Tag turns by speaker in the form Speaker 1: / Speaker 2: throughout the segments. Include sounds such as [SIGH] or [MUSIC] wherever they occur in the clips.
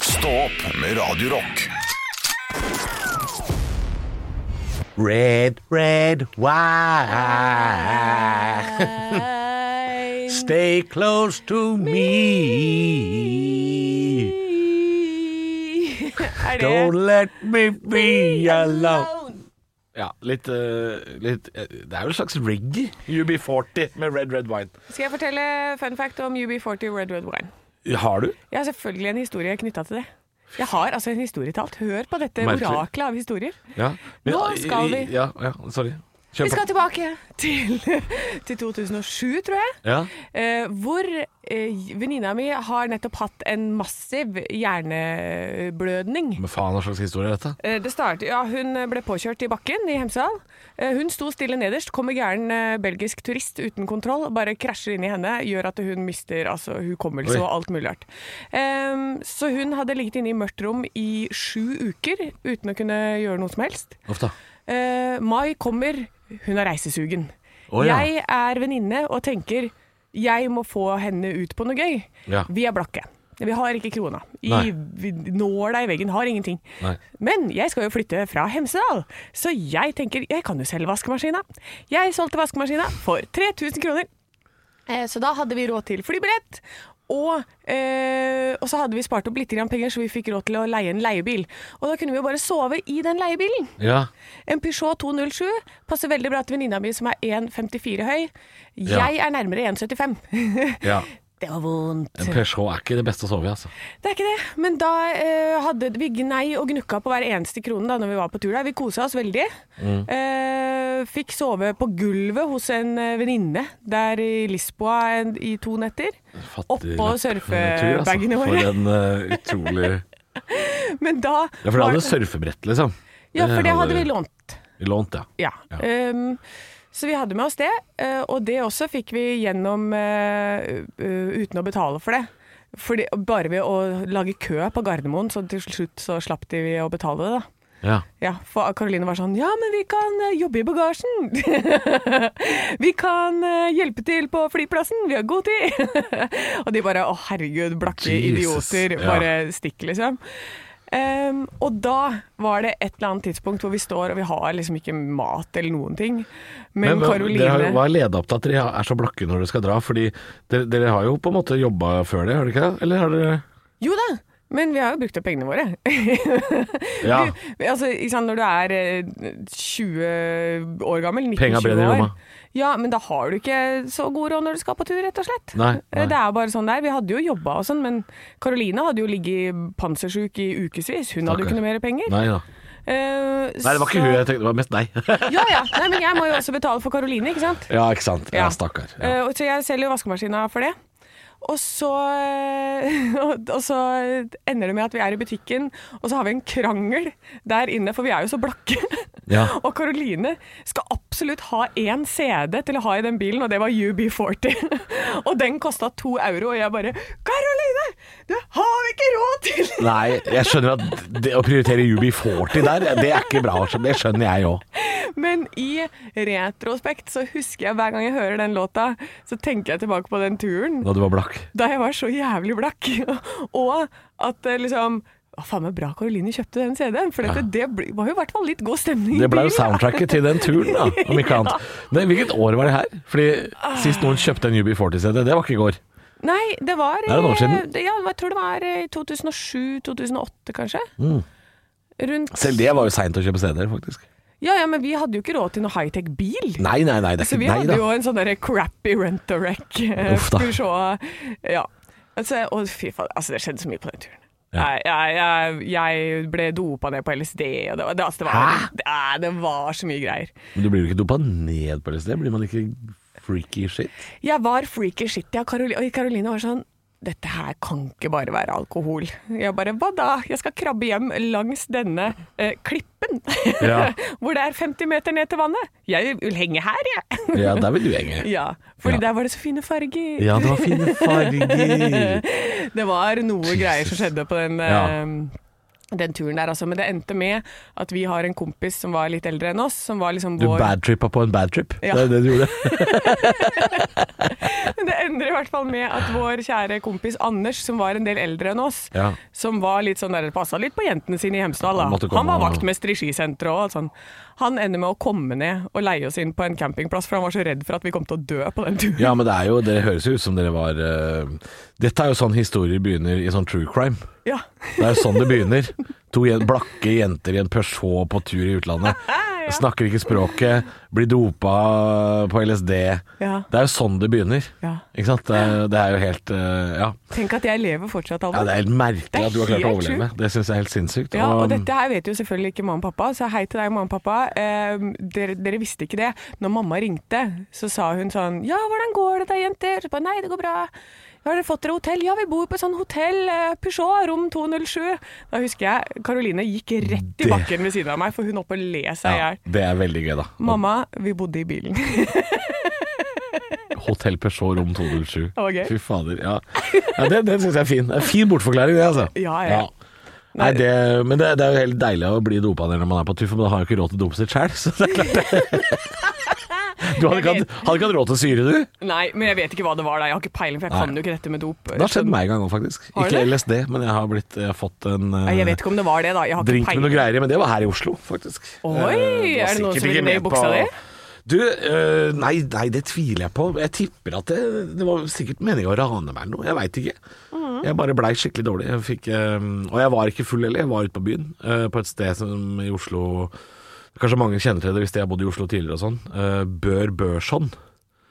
Speaker 1: Stå opp med Radio Rock.
Speaker 2: Red, red,
Speaker 3: Ah.
Speaker 2: why? Stay close to me.
Speaker 3: [LAUGHS] Er
Speaker 2: Don't
Speaker 3: det
Speaker 2: let me be alone. Ja, litt, eh, litt eh, Det er jo en slags riggy. UB40 med Red Red Wine.
Speaker 3: Skal jeg fortelle fun fact om UB40 Red Red Wine?
Speaker 2: Har du?
Speaker 3: Jeg har selvfølgelig en historie knytta til det. Jeg har altså en historie talt. Hør på dette
Speaker 2: Merkelig.
Speaker 3: oraklet av historier.
Speaker 2: Ja.
Speaker 3: Nå skal vi.
Speaker 2: Ja, ja sorry. Kjør
Speaker 3: Vi skal tilbake til, [LAUGHS] til 2007, tror jeg.
Speaker 2: Ja.
Speaker 3: Eh, hvor eh, venninna mi har nettopp hatt en massiv hjerneblødning.
Speaker 2: Men faen, hva slags historie er dette?
Speaker 3: Eh, Det startet, ja, hun ble påkjørt i bakken i Hemsedal. Eh, Hun sto stille nederst, kommer gæren eh, belgisk turist uten kontroll, bare krasjer inn i henne, gjør at hun mister altså, hukommelse
Speaker 2: Oi.
Speaker 3: og alt mulig rart. Ehm, så hun hadde ligget inne i mørkt rom i sju uker uten å kunne gjøre noe som helst.
Speaker 2: Uff da.
Speaker 3: Eh, mai kommer, hun har reisesugen.
Speaker 2: Å, ja.
Speaker 3: Jeg er venninne og tenker jeg må få henne ut på noe gøy.
Speaker 2: Ja.
Speaker 3: Vi er blakke. Vi har ikke krona.
Speaker 2: Nei.
Speaker 3: I vi- nåla i veggen, har ingenting.
Speaker 2: Nei.
Speaker 3: Men jeg skal jo flytte fra Hemsedal, så jeg tenker jeg kan jo selge vaskemaskina. Jeg solgte vaskemaskina for 3000 kroner. Eh, Så da hadde vi råd til flybillett. Og, eh, og så hadde vi spart opp litt grann penger, så vi fikk råd til å leie en leiebil. Og da kunne vi jo bare sove i den leiebilen.
Speaker 2: Ja.
Speaker 3: En Peugeot 207 passer veldig bra til venninna mi som er 1,54 høy. Jeg
Speaker 2: Ja.
Speaker 3: er nærmere [LAUGHS] 1,75.
Speaker 2: ja.
Speaker 3: det var vondt.
Speaker 2: En Peugeot er ikke det beste å sove i, altså.
Speaker 3: Det er ikke det. Men da eh, hadde vi gnei og gnukka på hver eneste krone da når vi var på tur der. Vi kosa oss veldig. Eh, fikk sove på gulvet hos en eh, venninne der i Lisboa en, i to netter.
Speaker 2: Fattig
Speaker 3: Oppå
Speaker 2: lapp. Tur, altså.
Speaker 3: surfebagene våre.
Speaker 2: For en eh, utrolig
Speaker 3: Men da
Speaker 2: Ja, for du
Speaker 3: var-
Speaker 2: hadde surfebrett, liksom.
Speaker 3: Ja, for det hadde
Speaker 2: dere
Speaker 3: vi lånt.
Speaker 2: lånt. ja.
Speaker 3: Ja. Ehm, så vi hadde med oss det, eh, og det også fikk vi gjennom eh, eh, uten å betale for det. Fordi, bare ved å lage kø på Gardermoen, så til slutt så slapp de vi å betale det. da.
Speaker 2: ja.
Speaker 3: Ja, For Karoline var sånn Ja, men vi kan eh, jobbe i bagasjen. [LAUGHS] vi kan eh, hjelpe til på flyplassen, vi har god tid. [LAUGHS] og de bare Å, herregud, blakke
Speaker 2: Jesus,
Speaker 3: idioter.
Speaker 2: ja.
Speaker 3: Bare stikk, liksom. Ehm, og da var det et eller annet tidspunkt hvor vi står og vi har liksom ikke mat eller noen ting. Men,
Speaker 2: hva-
Speaker 3: Karoline
Speaker 2: dere har jo- Hva er leda opp til at dere er så blakke når dere skal dra? Fordi dere, dere har jo på en måte jobba før det, har dere ikke det? Eller har dere
Speaker 3: Jo da, men vi har jo brukt opp pengene våre. [LAUGHS]
Speaker 2: Ja,
Speaker 3: Vi- altså, ikke sant, når du er eh, 20 år gammel, 19-20 år
Speaker 2: Penga brenner i lomma.
Speaker 3: Ja, men da har du ikke så god råd når du skal på tur, rett og slett.
Speaker 2: Nei, nei.
Speaker 3: Det er bare sånn der. Vi hadde jo jobba og sånn, men Karoline hadde jo ligget pansersjuk i ukevis. Hun hadde
Speaker 2: Stakkar.
Speaker 3: jo ikke noe mer penger. Eh,
Speaker 2: Nei da. Nei, det var ikke hun jeg tenkte, det var mest deg. [LAUGHS]
Speaker 3: Ja, ja. Nei, men jeg må jo også betale for Karoline, ikke sant.
Speaker 2: ja, ikke sant. Ja,
Speaker 3: Ja.
Speaker 2: stakkar. Ja.
Speaker 3: Eh, og så jeg selger jo vaskemaskina for det. Og så, eh, [LAUGHS] og, og så ender det med at vi er i butikken, og så har vi en krangel der inne, for vi er jo så blakke. [LAUGHS]
Speaker 2: Ja.
Speaker 3: og Karoline skal absolutt ha én CD til å ha i den bilen, og det var UB40. [LAUGHS] og den kosta to euro, og jeg bare Karoline! Du har vi ikke råd til! [LAUGHS]
Speaker 2: Nei, jeg skjønner at det å prioritere UB40 der, det er ikke bra. altså. Det skjønner jeg òg.
Speaker 3: Men i retrospekt så husker jeg hver gang jeg hører den låta, så tenker jeg tilbake på den turen.
Speaker 2: Da du var blakk.
Speaker 3: da jeg var så jævlig blakk. [LAUGHS] Og at eh, liksom å, faen meg bra Karoline kjøpte den CD-en, for dette, det ble- var jo i hvert fall litt god stemning. i
Speaker 2: Det ble jo
Speaker 3: bilen.
Speaker 2: soundtracket til den turen, da, om ikke annet. Men hvilket år var det her? Fordi sist noen kjøpte en UB40-CD, det var ikke i går.
Speaker 3: Nei, det var
Speaker 2: er noen år siden.
Speaker 3: eh, det- Ja, jeg tror det var eh, i 2007-2008, kanskje.
Speaker 2: Mm.
Speaker 3: Rundt
Speaker 2: Selv det var jo seint å kjøpe CD-er, faktisk.
Speaker 3: Ja ja, men vi hadde jo ikke råd til noe high-tech bil.
Speaker 2: Nei, nei, nei, det er
Speaker 3: Så vi
Speaker 2: ikke nei
Speaker 3: hadde
Speaker 2: da.
Speaker 3: jo en sånn derre crappy rent-a-wreck.
Speaker 2: Uff da.
Speaker 3: eh, Skulle se Ja. Altså, og fy faen, altså det skjedde så mye på den turen.
Speaker 2: Ja.
Speaker 3: Jeg, jeg, jeg, jeg ble dopa ned på LSD, og det var, det, altså, det, var,
Speaker 2: Hæ?
Speaker 3: det, eh, det var så mye greier.
Speaker 2: Men du blir jo ikke dopa ned på det stedet, blir man ikke freaky shit?
Speaker 3: Jeg var freaky shit, ja, Karoli- og Karoline var sånn dette her kan ikke bare være alkohol. Jeg bare hva da? Jeg skal krabbe hjem langs denne eh, klippen [LAUGHS]
Speaker 2: Ja.
Speaker 3: hvor det er 50 meter ned til vannet. Jeg vil henge her, jeg. [LAUGHS]
Speaker 2: Ja, der vil du henge.
Speaker 3: ja, fordi
Speaker 2: Ja.
Speaker 3: der var det så fine farger.
Speaker 2: Ja, det var fine farger.
Speaker 3: Det var noe greier som skjedde på den eh, den turen der, altså. Men det endte med at vi har en kompis som var litt eldre enn oss, som var liksom
Speaker 2: Du
Speaker 3: vår
Speaker 2: badtrippa på en badtrip?
Speaker 3: Ja.
Speaker 2: Det er det du gjorde?
Speaker 3: [LAUGHS] Det ender i hvert fall med at vår kjære kompis Anders, som var en del eldre enn oss,
Speaker 2: Ja.
Speaker 3: som var litt sånn der, passa litt på jentene sine i Hemsedal, da.
Speaker 2: Han måtte komme
Speaker 3: Han var
Speaker 2: og-
Speaker 3: vaktmester i skisenteret og alt sånn. Han ender med å komme ned og leie oss inn på en campingplass, for han var så redd for at vi kom til å dø på den turen.
Speaker 2: Ja, men det er jo Det høres jo ut som dere var eh, Dette er jo sånn historier begynner i sånn true crime.
Speaker 3: [LAUGHS] Ja.
Speaker 2: Det er jo sånn det begynner. To jen blakke jenter i en Peugeot på tur i utlandet. Snakker ikke språket, blir dopa på LSD.
Speaker 3: Ja.
Speaker 2: Det er jo sånn det begynner.
Speaker 3: Ja.
Speaker 2: Ikke sant? Det er, det er jo helt eh, ja.
Speaker 3: Tenk at jeg lever fortsatt,
Speaker 2: ja,
Speaker 3: Alvor.
Speaker 2: det er helt merkelig at du har klart å
Speaker 3: helt
Speaker 2: overleve. Det syns jeg er helt sinnssykt.
Speaker 3: Ja, og
Speaker 2: Og-
Speaker 3: dette her vet jo selvfølgelig ikke mamma og pappa, så hei til deg, mamma og pappa. Eh, dere, dere visste ikke det. Når mamma ringte, så sa hun sånn Ja, hvordan går det da, jenter? Så bare Nei, det går bra. Har dere fått dere hotell? Ja, vi bor på sånn hotell. eh, Peugeot, rom 207. Da husker jeg Karoline gikk rett i
Speaker 2: Det-
Speaker 3: bakken ved siden av meg, for hun oppe og le seg i
Speaker 2: ja,
Speaker 3: hjel.
Speaker 2: det er veldig gøy, da.
Speaker 3: Mamma, vi bodde i bilen. [LAUGHS]
Speaker 2: Hotell Peugeot rom 207.
Speaker 3: var gøy.
Speaker 2: Fy fader. Ja, ja det, det syns jeg er fin. Det er en fin bortforklaring, det, altså.
Speaker 3: Ja, ja.
Speaker 2: Nei, det, men det, det er jo helt deilig å bli dopa ned når man er på tur, for man har jo ikke råd til å dope seg sjæl. Så det er klart
Speaker 3: [LAUGHS]
Speaker 2: det. Du hadde ikke, hatt- hadde ikke hatt råd til syre, du.
Speaker 3: Nei, men jeg vet ikke hva det var da. Jeg har ikke peiling, for jeg
Speaker 2: Nei.
Speaker 3: kan jo ikke dette med dop.
Speaker 2: Det har skjedd meg en gang òg, faktisk.
Speaker 3: Har
Speaker 2: Ikke
Speaker 3: det?
Speaker 2: LSD, men jeg har blitt jeg har fått en eh,
Speaker 3: Nei, Jeg vet ikke om det var det, da. Jeg har ikke
Speaker 2: drink med noe
Speaker 3: peiling.
Speaker 2: greier i, men det var her i Oslo, faktisk.
Speaker 3: Oi,
Speaker 2: Eh, var
Speaker 3: er det noen
Speaker 2: sikkert
Speaker 3: som
Speaker 2: ikke
Speaker 3: ville ned i
Speaker 2: med
Speaker 3: buksa
Speaker 2: på-
Speaker 3: di?
Speaker 2: Du, eh, nei, nei, det tviler jeg på. Jeg tipper at det, det var sikkert meningen å rane meg eller noe, jeg veit ikke. Jeg bare blei skikkelig dårlig. Jeg fikk, eh, og jeg var ikke full heller, jeg var ute på byen, eh, på et sted som i Oslo Kanskje mange kjenner til det hvis de har bodd i Oslo tidligere og sånn. Eh, Bør Børson.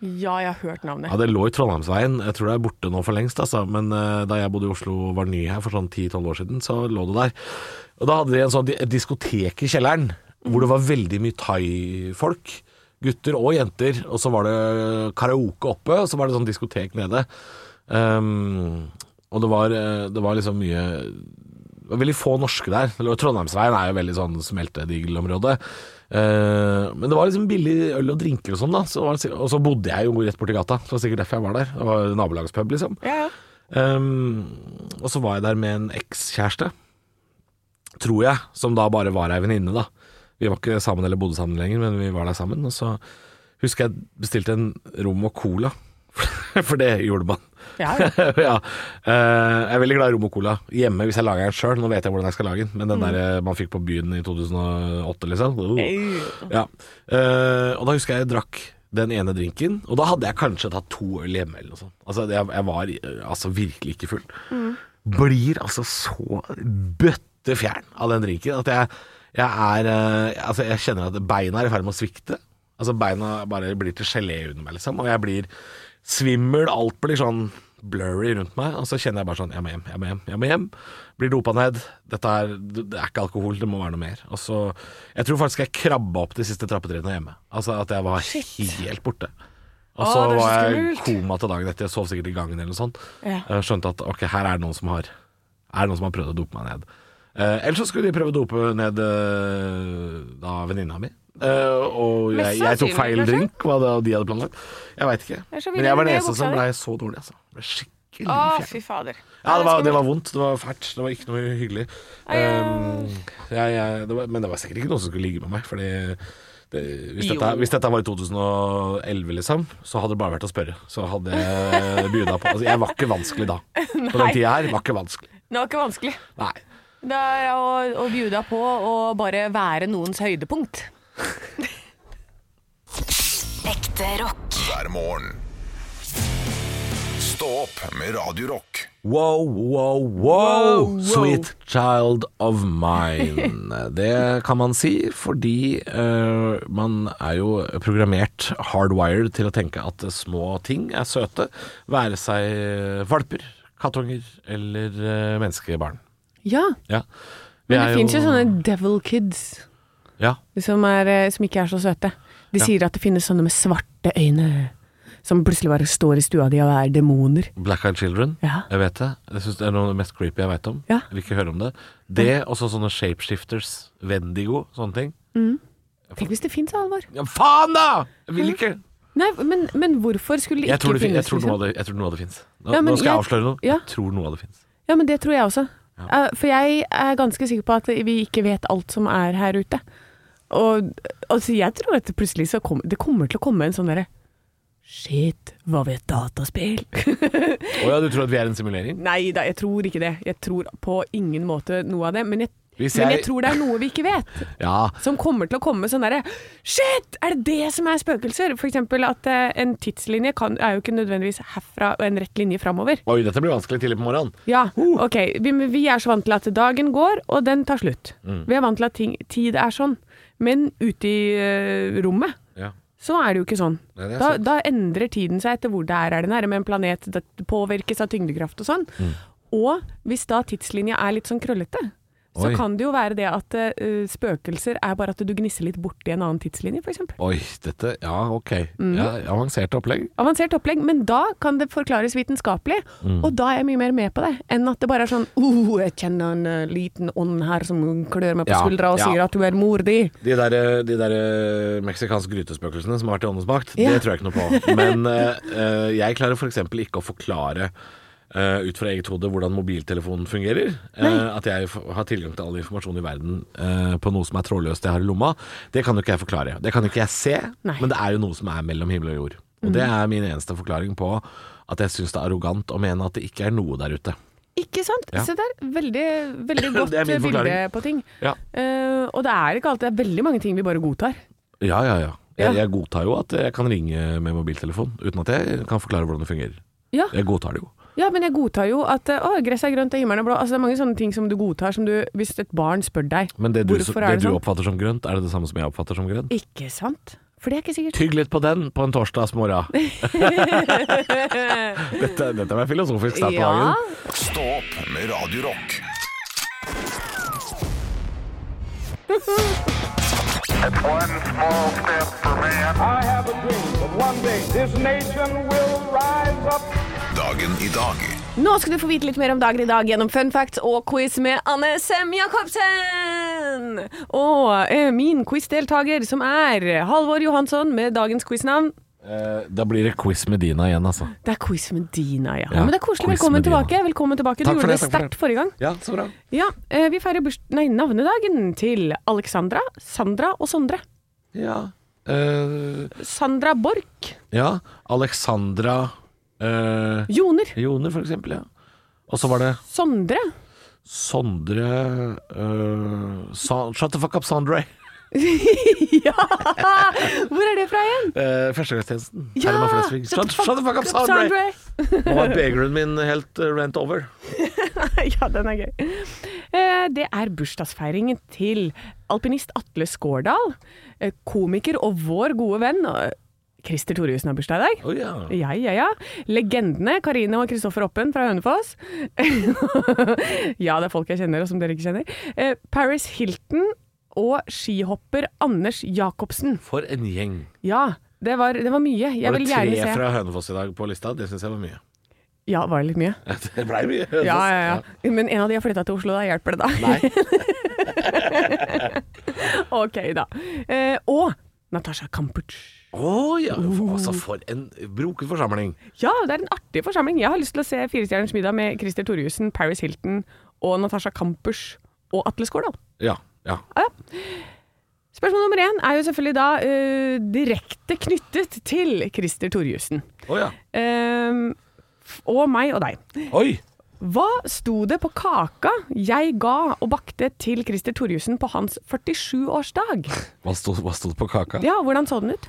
Speaker 3: Ja, jeg har hørt navnet.
Speaker 2: Ja, det lå i Trondheimsveien. Jeg tror det er borte nå for lengst, altså. Men eh, da jeg bodde i Oslo og var ny her for sånn 10-12 år siden, så lå det der. Og da hadde de en sånn di- et diskotek i kjelleren, hvor det var veldig mye thai-folk. Gutter og jenter. Og så var det karaoke oppe, og så var det sånn diskotek nede. Ehm, og det var, eh, det var liksom mye det var veldig få norske der. Det lå- Trondheimsveien er jo veldig sånn smeltedigelområde. Eh, men det var liksom billig øl og drinker og sånn, da. Så var det, sikk- og så bodde jeg jo rett borti gata, så det var sikkert derfor jeg var der. Det var nabolagspub, liksom.
Speaker 3: Ja, ja.
Speaker 2: Eh, og så var jeg der med en ekskjæreste, tror jeg, som da bare var ei venninne, da. Vi var ikke sammen eller bodde sammen lenger, men vi var der sammen. Og så husker jeg bestilte en rom og cola, [LAUGHS] for det gjorde man
Speaker 3: ja, ja.
Speaker 2: [LAUGHS] ja. Eh, jeg er veldig glad i rom og cola hjemme hvis jeg lager den sjøl. Nå vet jeg hvordan jeg skal lage den, men den der eh, man fikk på byen i 2008, liksom.
Speaker 3: [LAUGHS] Au.
Speaker 2: Ja. Eh, og da husker jeg jeg drakk den ene drinken, og da hadde jeg kanskje tatt to øl hjemme eller noe sånt. Altså, jeg, jeg var eh, altså virkelig ikke full. Blir altså så bøttefjern av den drinken at jeg, jeg er eh, Altså, jeg kjenner at beina er i ferd med å svikte. Altså, beina bare blir til gelé under meg, liksom. Og jeg blir svimmel, alt blir sånn blurry rundt meg, og så kjenner jeg bare sånn, jeg må hjem, jeg må hjem, jeg må hjem. Blir dopa ned. Dette er, det er ikke alkohol, det må være noe mer. Og så, jeg tror faktisk jeg krabba opp de siste trappetrinnene hjemme. Altså at jeg var helt borte. Og
Speaker 3: Å,
Speaker 2: så
Speaker 3: det er så
Speaker 2: var jeg i
Speaker 3: skummelt.
Speaker 2: koma til dagen etter, jeg sov sikkert i gangen eller noe sånt.
Speaker 3: Ja.
Speaker 2: Jeg Skjønte at ok, her er det noen som har, er det noen som har prøvd å dope meg ned. Eh, ellers så skulle de prøve å dope ned eh, da venninna mi. Eh, og
Speaker 3: Mest
Speaker 2: jeg, jeg tok
Speaker 3: sannsynlig,
Speaker 2: feil
Speaker 3: kanskje?
Speaker 2: drink, hva det, de hadde planlagt. Jeg veit ikke.
Speaker 3: Ellers så ville
Speaker 2: Men jeg var den
Speaker 3: det bli
Speaker 2: eneste
Speaker 3: buksa
Speaker 2: som
Speaker 3: di.
Speaker 2: blei så dårlig, altså. Det ble skikkelig
Speaker 3: Å,
Speaker 2: fjern.
Speaker 3: fy fader.
Speaker 2: Ja, det var, det var vondt. Det var fælt. Det var ikke noe hyggelig.
Speaker 3: ja.
Speaker 2: Um, jeg, jeg, det var, men det var sikkert ikke noen som skulle ligge med meg. Fordi det, hvis,
Speaker 3: Jo.
Speaker 2: dette, hvis dette var i 2011, liksom, så hadde det bare vært å spørre. Så hadde jeg bjuda på altså, Jeg var ikke vanskelig
Speaker 3: [LAUGHS]
Speaker 2: da. På den
Speaker 3: Nei.
Speaker 2: tida her var ikke vanskelig.
Speaker 3: Det var ikke vanskelig.
Speaker 2: Nei.
Speaker 3: Det er å, å bjuda på å bare være noens høydepunkt.
Speaker 4: Ekte rock.
Speaker 1: hver morgen. Stå opp med Radio Rock.
Speaker 2: Wow, wow, wow, sweet child of
Speaker 3: [LAUGHS]
Speaker 2: mine. Det kan man si, fordi eh, man er jo programmert hardwired til å tenke at små ting er søte, være seg valper, kattunger eller eh, menneskebarn.
Speaker 3: Ja,
Speaker 2: Ja. Vi
Speaker 3: men det
Speaker 2: er
Speaker 3: fins jo sånne devil kids
Speaker 2: Ja,
Speaker 3: som, er, eh, som ikke er så søte. De
Speaker 2: Ja.
Speaker 3: sier at det finnes sånne med svarte øyne som plutselig bare står i stua di og er demoner.
Speaker 2: Black Eyed Children,
Speaker 3: Ja.
Speaker 2: jeg vet det. Jeg synes Det er noe av det mest creepy jeg veit om.
Speaker 3: Ja.
Speaker 2: Jeg vil ikke høre om det. Det, og så sånne shapeshifters, Wendigo, sånne ting.
Speaker 3: Tenk hvis det fins, Alvor.
Speaker 2: Ja, faen da! Jeg vil ikke!
Speaker 3: Nei, men, men hvorfor skulle det
Speaker 2: Jeg tror,
Speaker 3: ikke
Speaker 2: det, fin-
Speaker 3: finnes?
Speaker 2: jeg tror
Speaker 3: liksom?
Speaker 2: noe av det, jeg tror noe av det fins. Nå,
Speaker 3: Ja, men
Speaker 2: nå skal jeg
Speaker 3: jeg-
Speaker 2: avsløre noe.
Speaker 3: ja.
Speaker 2: Jeg tror noe av det fins.
Speaker 3: Ja, men det tror jeg også. Eh, For jeg er ganske sikker på at vi ikke vet alt som er her ute. Og altså, jeg tror at det plutselig så kom, det kommer til å komme en sånn derre Shit, hva vet dataspill? [LAUGHS]
Speaker 2: Å ja, du tror at vi er en simulering?
Speaker 3: Nei da, jeg tror ikke det. Jeg tror på ingen måte noe av det. Men jeg,
Speaker 2: Hvis
Speaker 3: men
Speaker 2: jeg-
Speaker 3: jeg tror det er noe vi ikke vet.
Speaker 2: Ja.
Speaker 3: Som kommer til å komme sånn derre Shit! Er det det som er spøkelser? For eksempel at eh, en tidslinje kan, er jo ikke nødvendigvis herfra og en rett linje framover.
Speaker 2: Oi, dette blir vanskelig tidlig på morgenen.
Speaker 3: Ja, ok. Vi, men vi er så vant til at dagen går, og den tar slutt.
Speaker 2: Mm.
Speaker 3: Vi er vant til at ting, tid er sånn. Men ute i eh, rommet
Speaker 2: Ja.
Speaker 3: så er det jo ikke sånn.
Speaker 2: Nei, det er
Speaker 3: da,
Speaker 2: sant.
Speaker 3: da endrer tiden seg etter hvor det er. Er det nærme en planet? Det påvirkes av tyngdekraft og sånn.
Speaker 2: Mm.
Speaker 3: Og hvis da tidslinja er litt sånn krøllete, så
Speaker 2: Oi.
Speaker 3: kan det jo være det at eh, spøkelser er bare at du gnisser litt borti en annen tidslinje, f.eks.
Speaker 2: Oi, dette Ja, ok.
Speaker 3: Mm.
Speaker 2: Ja, avanserte opplegg.
Speaker 3: Avansert opplegg, men da kan det forklares vitenskapelig,
Speaker 2: Mm.
Speaker 3: og da er jeg mye mer med på det, enn at det bare er sånn uh, jeg kjenner en eh, liten ånd her som klør meg på
Speaker 2: Ja,
Speaker 3: skuldra og
Speaker 2: ja.
Speaker 3: sier at du er mor di.
Speaker 2: De der, de der eh, meksikanske grytespøkelsene som har vært i åndenes makt,
Speaker 3: Ja.
Speaker 2: det tror jeg ikke noe
Speaker 3: [LAUGHS]
Speaker 2: på. Men eh, eh, jeg klarer f.eks. ikke å forklare eh, ut fra eget hode hvordan mobiltelefonen fungerer. Eh, at jeg f har tilgang til all informasjon i verden eh, på noe som er trådløst jeg har i lomma. Det kan jo ikke jeg forklare. Det kan jo ikke jeg se,
Speaker 3: Nei. Mm.
Speaker 2: men det er jo noe som er mellom himmel og jord. Og det er min eneste forklaring på at jeg syns det er arrogant å mene at det ikke er noe der ute.
Speaker 3: Ikke sant?
Speaker 2: Ja.
Speaker 3: Se der, veldig, veldig
Speaker 2: [LAUGHS]
Speaker 3: godt eh,
Speaker 2: Det er min
Speaker 3: bilde
Speaker 2: forklaring.
Speaker 3: på ting.
Speaker 2: Ja,
Speaker 3: Eh, og det er ikke alltid, det er veldig mange ting vi bare godtar.
Speaker 2: ja, ja. ja.
Speaker 3: Ja.
Speaker 2: Jeg, jeg godtar jo at jeg kan ringe med mobiltelefon uten at jeg kan forklare hvordan det fungerer.
Speaker 3: Ja,
Speaker 2: Jeg godtar det jo.
Speaker 3: ja men jeg godtar jo at eh, å, gresset er grønt og himmelen er blå. Altså, det er mange sånne ting som du godtar som du, hvis et barn spør deg
Speaker 2: Men det du,
Speaker 3: hvorfor
Speaker 2: det
Speaker 3: er det
Speaker 2: du
Speaker 3: sånn.
Speaker 2: oppfatter som grønt, er det det samme som jeg oppfatter som grønt?
Speaker 3: Ikke sant? For det er ikke sikkert.
Speaker 2: Tygg litt på den på en
Speaker 3: [LAUGHS]
Speaker 2: torsdagsmorgen. [LAUGHS] dette, dette var filosofisk start på dagen.
Speaker 1: Stå opp med Radio Rock.
Speaker 5: One small step for man.
Speaker 6: I have a dream that one day this nation will rise up.
Speaker 1: Dagen i dag.
Speaker 3: Nå skal du få vite litt mer om dagen i dag gjennom fun facts og quiz med Anne Sem Jacobsen! Og eh, min quizdeltaker som er Halvor Johansson med dagens quiznavn.
Speaker 2: Eh, da blir det quiz med Dina igjen, altså.
Speaker 3: Det er quiz med Dina, ja.
Speaker 2: Ja,
Speaker 3: Men det er koselig.
Speaker 2: quiz
Speaker 3: Velkommen
Speaker 2: med Dina.
Speaker 3: tilbake. Velkommen tilbake.
Speaker 2: Takk
Speaker 3: du
Speaker 2: for
Speaker 3: gjorde
Speaker 2: det,
Speaker 3: det
Speaker 2: takk for
Speaker 3: sterkt forrige gang.
Speaker 2: Ja, så bra.
Speaker 3: Ja, eh, vi feirer burs nei, navnedagen til Alexandra, Sandra og Sondre.
Speaker 2: Ja. Eh,
Speaker 3: Sandra Borch.
Speaker 2: ja. Alexandra eh,
Speaker 3: Joner.
Speaker 2: Joner, for eksempel. Ja. Og så var det
Speaker 3: Sondre. [LAUGHS]
Speaker 2: Sondre eh, Sa Shut the fuck up, Sondre.
Speaker 3: ja! Hvor er det fra igjen?
Speaker 2: Uh, Førstegangstjenesten.
Speaker 3: Ja!
Speaker 2: Herman Flesvig. Shut, shut the fuck up, Sondre! Nå var begeren min helt eh, rent over.
Speaker 3: [LAUGHS] ja, den er gøy. Eh, Det er bursdagsfeiringen til alpinist Atle Skårdal, eh, komiker og vår gode venn eh, Christer Thoresen har bursdag i dag.
Speaker 2: Å ja.
Speaker 3: Ja, ja, ja. Legendene Karine og Kristoffer Oppen fra Hønefoss. [LAUGHS] ja, det er folk jeg kjenner, og som dere ikke kjenner. Eh, Paris Hilton og skihopper Anders Jacobsen.
Speaker 2: For en gjeng.
Speaker 3: Ja, det var, det var mye. Jeg
Speaker 2: Var
Speaker 3: vil
Speaker 2: det
Speaker 3: gjerne
Speaker 2: tre
Speaker 3: se.
Speaker 2: fra Hønefoss i dag på lista? Det syns jeg var mye.
Speaker 3: Ja, var det litt mye?
Speaker 2: [LAUGHS] Det blei mye Hønefoss.
Speaker 3: Ja, ja, ja. Men en av de har flytta til Oslo, da hjelper det da? [LAUGHS]
Speaker 2: Nei.
Speaker 3: Ok, da. Eh, og Natasha Kampuch.
Speaker 2: Å ja. Altså, for en broket forsamling.
Speaker 3: Ja, det er en artig forsamling. Jeg har lyst til å se Firestjerners middag med Christer Thorjussen, Paris Hilton og Natasha Kampuch og Atle Skårdal.
Speaker 2: Ja. ja.
Speaker 3: Spørsmål nummer én er jo selvfølgelig da eh, direkte knyttet til Christer Thorjussen.
Speaker 2: Å ja.
Speaker 3: Eh, f- og meg og deg.
Speaker 2: Oi.
Speaker 3: Hva sto det på kaka jeg ga og bakte til Christer Thorjussen på hans 47-årsdag?
Speaker 2: Hva sto, hva sto det på kaka?
Speaker 3: Ja, hvordan så den ut?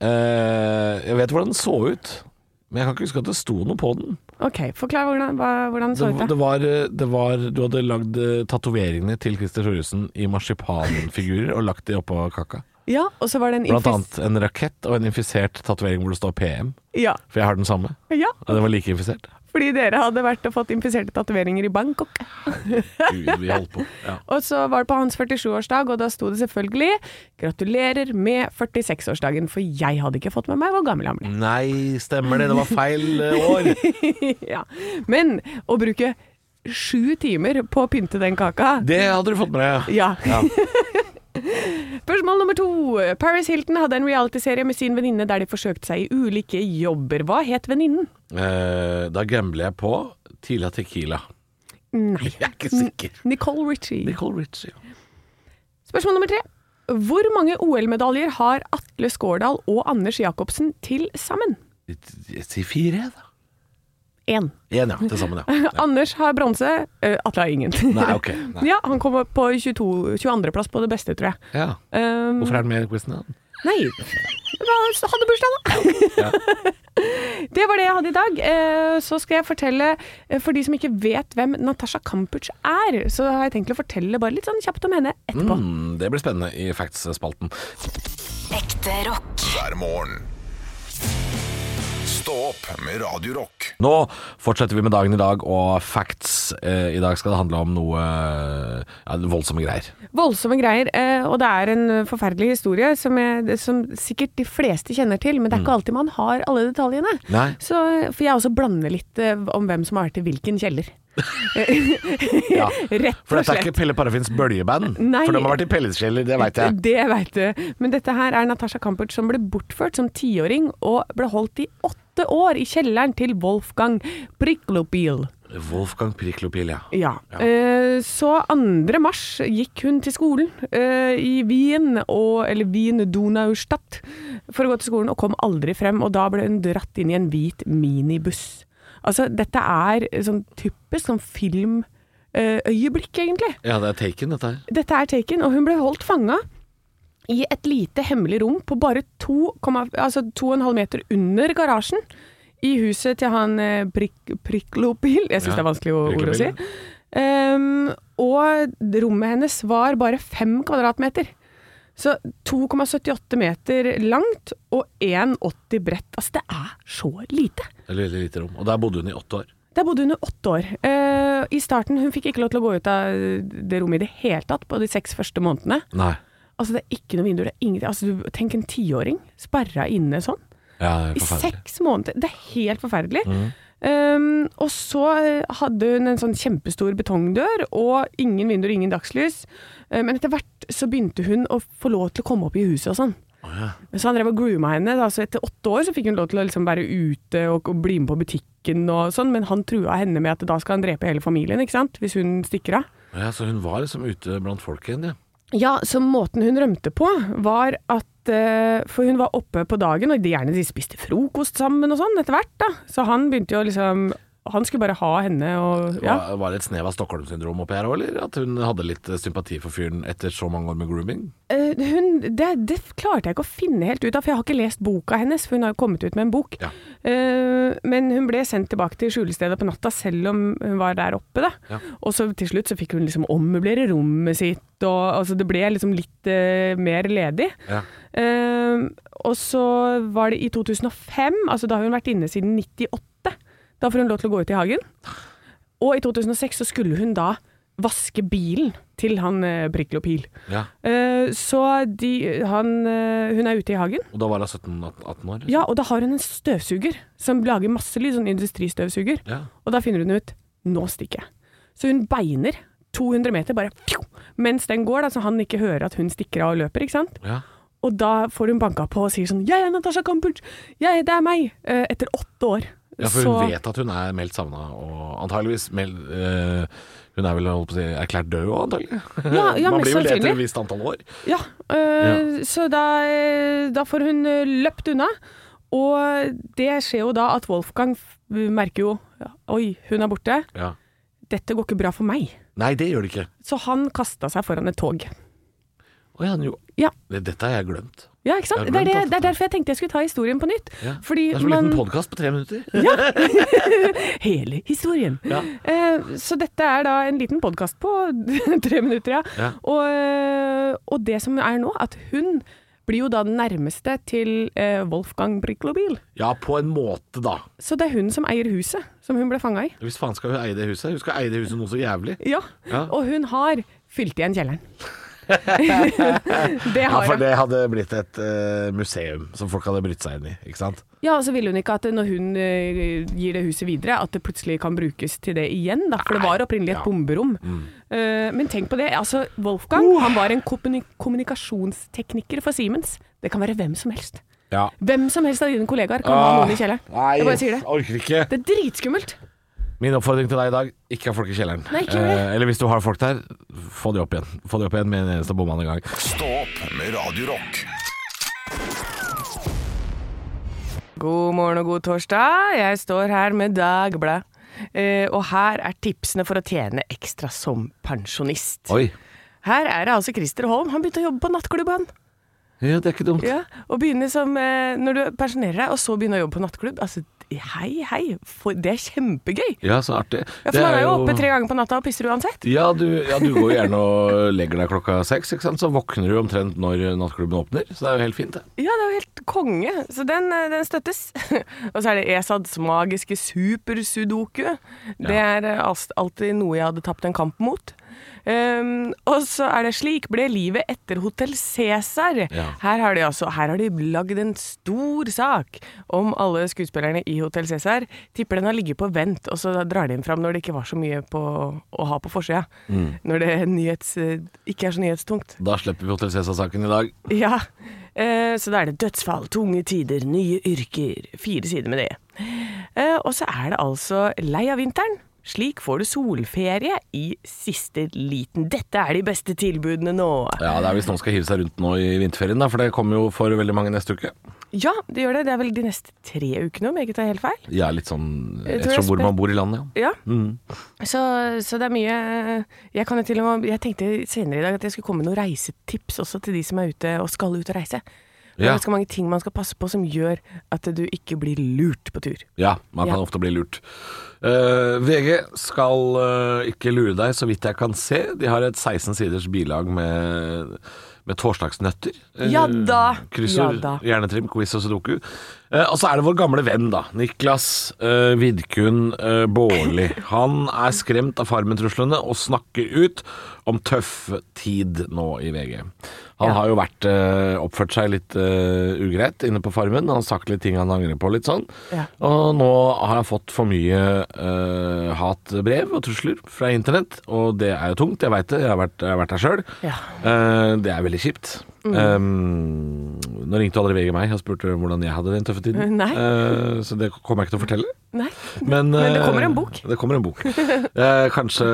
Speaker 2: Eh, jeg vet hvordan den så ut, men jeg kan ikke huske at det sto noe på den.
Speaker 3: Ok, forklar hvordan, hva- hvordan
Speaker 2: Det,
Speaker 3: så ut da.
Speaker 2: det, var, eh, det var Du hadde lagd eh, tatoveringene til Christer Thoresen i marsipanfigurer og lagt de oppå kaka.
Speaker 3: Ja, og så var det en
Speaker 2: Blant
Speaker 3: infis-
Speaker 2: annet en rakett og en infisert tatovering hvor det står PM,
Speaker 3: Ja,
Speaker 2: for jeg har den samme.
Speaker 3: ja,
Speaker 2: Og den var like infisert.
Speaker 3: fordi dere hadde vært og fått infiserte tatoveringer i Bangkok.
Speaker 2: [LAUGHS] Gud, vi holdt på. Ja.
Speaker 3: Og så var det på hans 47-årsdag, og da sto det selvfølgelig 'Gratulerer med 46-årsdagen', for jeg hadde ikke fått med meg hvor gammel han ble. [LAUGHS]
Speaker 2: Nei, stemmer det. Det var feil eh, år.
Speaker 3: ja. Men å bruke sju timer på å pynte den kaka
Speaker 2: Det hadde du fått med deg.
Speaker 3: ja.
Speaker 2: Ja.
Speaker 3: [LAUGHS] Spørsmål nummer to. Paris Hilton hadde en realityserie med sin venninne der de forsøkte seg i ulike jobber. Hva het venninnen?
Speaker 2: Eh, da gambler jeg på Tila Tequila.
Speaker 3: Nei.
Speaker 2: Jeg er ikke sikker.
Speaker 3: Nicole Ritchie.
Speaker 2: Nicole Ritchie. ja.
Speaker 3: Spørsmål nummer tre. Hvor mange OL-medaljer har Atle Skårdal og Anders Jacobsen til sammen?
Speaker 2: Jeg sier fire, jeg, da.
Speaker 3: Én.
Speaker 2: Én, ja. Til sammen, ja.
Speaker 3: [LAUGHS] Anders har bronse, eh, Atle har ingen.
Speaker 2: Nei,
Speaker 3: [LAUGHS]
Speaker 2: ok. Nei.
Speaker 3: Ja, Han kommer på 22 22.-plass på det beste, tror jeg.
Speaker 2: [LAUGHS] ja.
Speaker 3: Um,
Speaker 2: Hvorfor er den med i quizen? da?
Speaker 3: Nei, [LAUGHS] hva- hadde bursdag da. [LAUGHS] det var det jeg hadde i dag. Eh, Så skal jeg fortelle, eh, for de som ikke vet hvem Natasha Kampuch er, så har jeg tenkt å fortelle bare litt sånn kjapt om henne etterpå.
Speaker 2: Mm, det blir spennende i Facts-spalten.
Speaker 4: Ekte rock.
Speaker 1: hver morgen. Stå opp med Radio Rock.
Speaker 2: Nå fortsetter vi med dagen i dag og facts. Eh, I dag skal det handle om noe eh, ja, voldsomme greier.
Speaker 3: Voldsomme greier, eh, og det er en forferdelig historie som, jeg, som sikkert de fleste kjenner til, men det er ikke alltid man har alle detaljene.
Speaker 2: Mm. Nei.
Speaker 3: Så, for jeg også blander litt eh, om hvem som har vært i hvilken kjeller.
Speaker 2: Ja.
Speaker 3: Rett
Speaker 2: For dette
Speaker 3: og
Speaker 2: er
Speaker 3: slett.
Speaker 2: ikke Pelle Parafins bøljeband.
Speaker 3: Nei.
Speaker 2: For de har vært i Pelles kjeller, det veit jeg.
Speaker 3: Det vet du. Men dette her er Natasha Kampuch som ble bortført som tiåring og ble holdt i åtte år i kjelleren til Wolfgang Priklopil.
Speaker 2: Wolfgang Priklopil, ja.
Speaker 3: Ja. Eh, Så 2. mars gikk hun til skolen eh, i Wien, og, eller Wien-Donaustadt, for å gå til skolen, og kom aldri frem. Og da ble hun dratt inn i en hvit minibuss. Altså, dette er sånn typisk sånn filmøyeblikk, egentlig.
Speaker 2: Ja, det er Taken, dette her.
Speaker 3: Dette er taken, og hun ble holdt fanga i et lite hemmelig rom på bare 2,5 altså 2,5 meter under garasjen i huset til han eh, prik, Priklopil. Jeg syns
Speaker 2: Ja,
Speaker 3: det er vanskelig å- ord å si.
Speaker 2: Priklopil,
Speaker 3: Ehm, og rommet hennes var bare fem kvadratmeter. Så 2,78 meter langt og 1,80 bredt. Altså, det er så lite.
Speaker 2: Et veldig lite rom. Og der bodde hun i åtte år.
Speaker 3: Der bodde hun i åtte år. Eh, I starten hun fikk ikke lov til å gå ut av det rommet i det hele tatt på de seks første månedene.
Speaker 2: Nei.
Speaker 3: Altså, det er ikke noen vinduer. Det er ingenting. Altså, du, tenk en tiåring sperra inne sånn.
Speaker 2: Ja,
Speaker 3: I
Speaker 2: forferdelig.
Speaker 3: seks måneder. Det er helt forferdelig. Um, og så eh, hadde hun en sånn kjempestor betongdør, og ingen vinduer, ingen dagslys. Eh, men etter hvert så begynte hun å få lov til å komme opp i huset og sånn. Så han drev og grooma henne. Da. Så etter åtte år så fikk hun lov til å liksom være ute og, og bli med på butikken og sånn, men han trua henne med at da skal han drepe hele familien, ikke sant, hvis hun stikker av.
Speaker 2: Ja, så hun var liksom ute blant folk igjen, ja.
Speaker 3: Ja, så måten hun rømte på var at eh, For hun var oppe på dagen, og de gjerne de spiste frokost sammen og sånn etter hvert, da. Så han begynte jo liksom Han skulle bare ha henne og ja.
Speaker 2: Var, var det et snev av Stockholm-syndrom oppi her òg, eller? At hun hadde litt eh, sympati for fyren etter så mange år med grooming?
Speaker 3: Eh, hun, det, det klarte jeg ikke å finne helt ut av, for jeg har ikke lest boka hennes. For hun har jo kommet ut med en bok.
Speaker 2: Ja.
Speaker 3: Eh, men hun ble sendt tilbake til skjulestedet på natta, selv om hun var der oppe. Da.
Speaker 2: Ja.
Speaker 3: Og så til slutt så fikk hun liksom ommøblere rommet sitt, og altså, det ble liksom litt eh, mer ledig.
Speaker 2: Ja.
Speaker 3: Eh, og så var det i 2005, altså da har hun vært inne siden 98. Da får hun lov til å gå ut i hagen. Og i 2006 så skulle hun da vaske bilen til han eh, Priklopil.
Speaker 2: ja.
Speaker 3: Eh, så de, han, eh, hun er ute i hagen,
Speaker 2: Og da var hun 17-18 år?
Speaker 3: ja, og da har hun en støvsuger som lager masse lyd, sånn industristøvsuger.
Speaker 2: Ja.
Speaker 3: Og da finner hun ut nå stikker jeg. Så hun beiner 200 meter, bare pjo, mens den går, da, så han ikke hører at hun stikker av og løper. ikke sant?
Speaker 2: ja.
Speaker 3: Og da får hun banka på og sier sånn 'Jeg er Natasha Kampuch! Jeg, det er meg!' eh, etter åtte år.
Speaker 2: Ja, for hun vet at hun er meldt savna, og antageligvis meld, eh, Hun er vel holdt på å si, erklært død òg, antagelig.
Speaker 3: Ja,
Speaker 2: [LAUGHS]
Speaker 3: ja,
Speaker 2: Man blir
Speaker 3: mest
Speaker 2: vel det etter
Speaker 3: sannsynlig.
Speaker 2: et visst antall år.
Speaker 3: Ja, øh, så da, øh, da får hun øh, løpt unna. Og det skjer jo da at Wolfgang f- merker jo Oi, hun er borte.
Speaker 2: Ja.
Speaker 3: Dette går ikke bra for meg.
Speaker 2: Nei, det gjør det ikke.
Speaker 3: Så han kasta seg foran et tog.
Speaker 2: Å ja, jo.
Speaker 3: Ja.
Speaker 2: Det, dette har jeg glemt.
Speaker 3: Ja, ikke sant?
Speaker 2: Jeg
Speaker 3: Det
Speaker 2: har
Speaker 3: er,
Speaker 2: glemt
Speaker 3: det,
Speaker 2: alt
Speaker 3: det er derfor jeg tenkte jeg skulle ta historien på nytt.
Speaker 2: Ja.
Speaker 3: Fordi
Speaker 2: det er som en
Speaker 3: man
Speaker 2: liten podkast på tre minutter.
Speaker 3: Hele historien.
Speaker 2: Ja.
Speaker 3: Eh, så dette er da en liten podkast på [LAUGHS] tre minutter, ja.
Speaker 2: Ja.
Speaker 3: Og, eh, og det som er nå, at hun blir jo da den nærmeste til eh, Wolfgang Briklobil.
Speaker 2: Ja, på en måte, da.
Speaker 3: Så det er hun som eier huset som hun ble fanga i.
Speaker 2: Hvis faen skal hun eie det huset? Hun skal eie det huset noe så jævlig.
Speaker 3: Ja.
Speaker 2: Ja.
Speaker 3: Og hun har fylt
Speaker 2: [LAUGHS]
Speaker 3: igjen kjelleren. [LAUGHS] det
Speaker 2: Ja,
Speaker 3: har
Speaker 2: for
Speaker 3: hun.
Speaker 2: det hadde blitt et eh, museum som folk hadde brytt seg inn i, ikke sant?
Speaker 3: Ja, og så ville hun ikke at når hun eh, gir det huset videre, at det plutselig kan brukes til det igjen, da. For det var opprinnelig
Speaker 2: Ja.
Speaker 3: et
Speaker 2: Mm.
Speaker 3: bomberom. Eh, men tenk på det. Altså, Wolfgang
Speaker 2: Uh.
Speaker 3: han var en kommuni kommunikasjonstekniker for Siemens. Det kan være hvem som helst.
Speaker 2: Ja.
Speaker 3: Hvem som helst av dine kollegaer kan ha noen i kjelleren.
Speaker 2: Ah, Nei,
Speaker 3: Jeg bare sier det.
Speaker 2: orker ikke.
Speaker 3: Det er dritskummelt.
Speaker 2: Min oppfordring til deg i dag ikke ha folk i kjelleren.
Speaker 3: Nei, ikke gjør det.
Speaker 2: Eh, eller hvis du har folk der, få de opp igjen. Få de opp igjen med en eneste bommann en gang.
Speaker 1: Stå opp med Radio Rock.
Speaker 3: God morgen og god torsdag. Jeg står her med Dagbladet. Eh, og her er tipsene for å tjene ekstra som pensjonist.
Speaker 2: Oi.
Speaker 3: Her er det altså Christer Holm. Han begynte å jobbe på nattklubb, han.
Speaker 2: Ja, det er ikke dumt.
Speaker 3: Ja, og begynner som eh, Når du pensjonerer deg, og så begynner å jobbe på nattklubb. Altså, hei, hei. For, det er kjempegøy.
Speaker 2: Ja, så artig.
Speaker 3: Ja, for man er jo oppe tre ganger på natta og pisser uansett.
Speaker 2: Ja du, ja, du går gjerne og legger deg klokka seks, ikke sant? så våkner du omtrent når nattklubben åpner. Så det er jo helt fint, det.
Speaker 3: Ja, det er jo helt konge. Så den, eh, den støttes. [LAUGHS] og så er det Esads magiske supersudoku. Det er eh, als- alltid noe jeg hadde tapt en kamp mot. Ehm, og så er det 'Slik ble livet etter Hotell Cæsar'.
Speaker 2: Ja.
Speaker 3: Her har de altså Her har de lagd en stor sak om alle skuespillerne i Hotell Cæsar. Tipper den har ligget på vent, og så drar de den fram når det ikke var så mye på, å ha på forsida. Når det nyhets, eh, ikke er så nyhetstungt.
Speaker 2: Da slipper vi Hotell Cæsar-saken i dag.
Speaker 3: Ja, eh, så da er det dødsfall, tunge tider, nye yrker. Fire sider med det. Eh, og så er det altså lei av vinteren. Slik får du solferie i siste liten. Dette er de beste tilbudene nå.
Speaker 2: Ja, det er hvis noen skal hive seg rundt nå i vinterferien, da, for det kommer jo for veldig mange neste uke.
Speaker 3: Ja, det gjør det. Det er vel de neste tre ukene, om jeg ikke tar helt feil.
Speaker 2: Jeg er litt sånn
Speaker 3: Jeg tror jeg
Speaker 2: Ettersom hvor
Speaker 3: spør-
Speaker 2: man bor i landet, ja.
Speaker 3: Ja. Så, så det er mye eh, Jeg kan jo til og med Jeg tenkte senere i dag at jeg skulle komme med noen reisetips også til de som er ute og skal ut og reise. Det er
Speaker 2: Ja.
Speaker 3: ganske mange ting man skal passe på som gjør at du ikke blir lurt på tur.
Speaker 2: Ja, man kan
Speaker 3: Ja.
Speaker 2: ofte bli lurt. Eh, VG skal eh, ikke lure deg, så vidt jeg kan se. De har et 16 siders bilag med, med torsdagsnøtter. Eh,
Speaker 3: Ja da.
Speaker 2: Kryssord,
Speaker 3: Ja da.
Speaker 2: hjernetrim, quiz og sudoku. Eh, og så er det vår gamle venn, da. Niklas eh, Vidkun eh, Baarli. Han er skremt av Farmen-truslene og snakker ut om tøff tid nå i VG. Han
Speaker 3: Ja.
Speaker 2: har jo vært, eh, oppført seg litt eh, ugreit inne på Farmen. Han har sagt litt ting han angrer på, litt sånn.
Speaker 3: Ja.
Speaker 2: Og nå har han fått for mye eh, hatbrev og trusler fra internett, og det er jo tungt, jeg veit det. Jeg har vært, jeg har vært der sjøl.
Speaker 3: Ja. Mm.
Speaker 2: Eh, det er veldig kjipt. Um, nå ringte aldri VG meg og spurte hvordan jeg hadde den tøffe tiden.
Speaker 3: Nei.
Speaker 2: Eh, så det kommer jeg ikke til å fortelle.
Speaker 3: Nei.
Speaker 2: Men,
Speaker 3: [LAUGHS] Men det
Speaker 2: eh,
Speaker 3: kommer en bok.
Speaker 2: Det kommer en bok. Eh, kanskje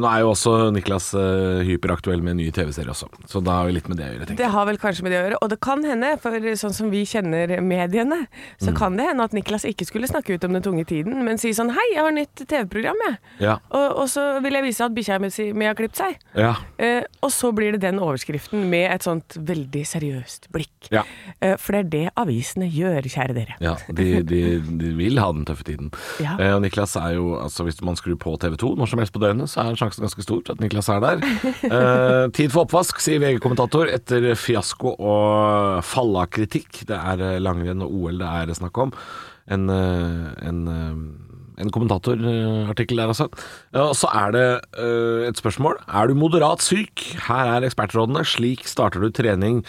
Speaker 2: Nå er jo også Niklas eh, hyperaktuell med en ny TV-serie også, så da har vi litt med det å gjøre, tenker jeg.
Speaker 3: Det har vel kanskje med det å gjøre. Og det kan hende, for sånn som vi kjenner mediene, så
Speaker 2: Mm.
Speaker 3: kan det hende at Niklas ikke skulle snakke ut om den tunge tiden, men si sånn Hei, jeg har nytt TV-program, jeg.
Speaker 2: Ja.
Speaker 3: Og, og så vil jeg vise at bikkja mi si- mi har klippet seg.
Speaker 2: Ja.
Speaker 3: Eh, og så blir det den overskriften med et sånt veldig seriøst blikk.
Speaker 2: Ja.
Speaker 3: Eh, for det er det avisene gjør, kjære dere.
Speaker 2: Ja, de, de, de vil ha den tøffe tiden.
Speaker 3: Ja.
Speaker 2: Eh, og Niklas er jo, altså Hvis man skrur på TV 2 når som helst på døgnet, så er sjansen ganske stor for at Niklas er der. Eh, tid for oppvask, sier VG-kommentator etter fiasko og fallakritikk. Det er eh, langrenn og OL det er snakk om. En, eh, en, eh, en kommentatorartikkel der, altså. Ja, Og så er det eh, et spørsmål. Er du moderat syk? Her er ekspertrådene. Slik starter du trening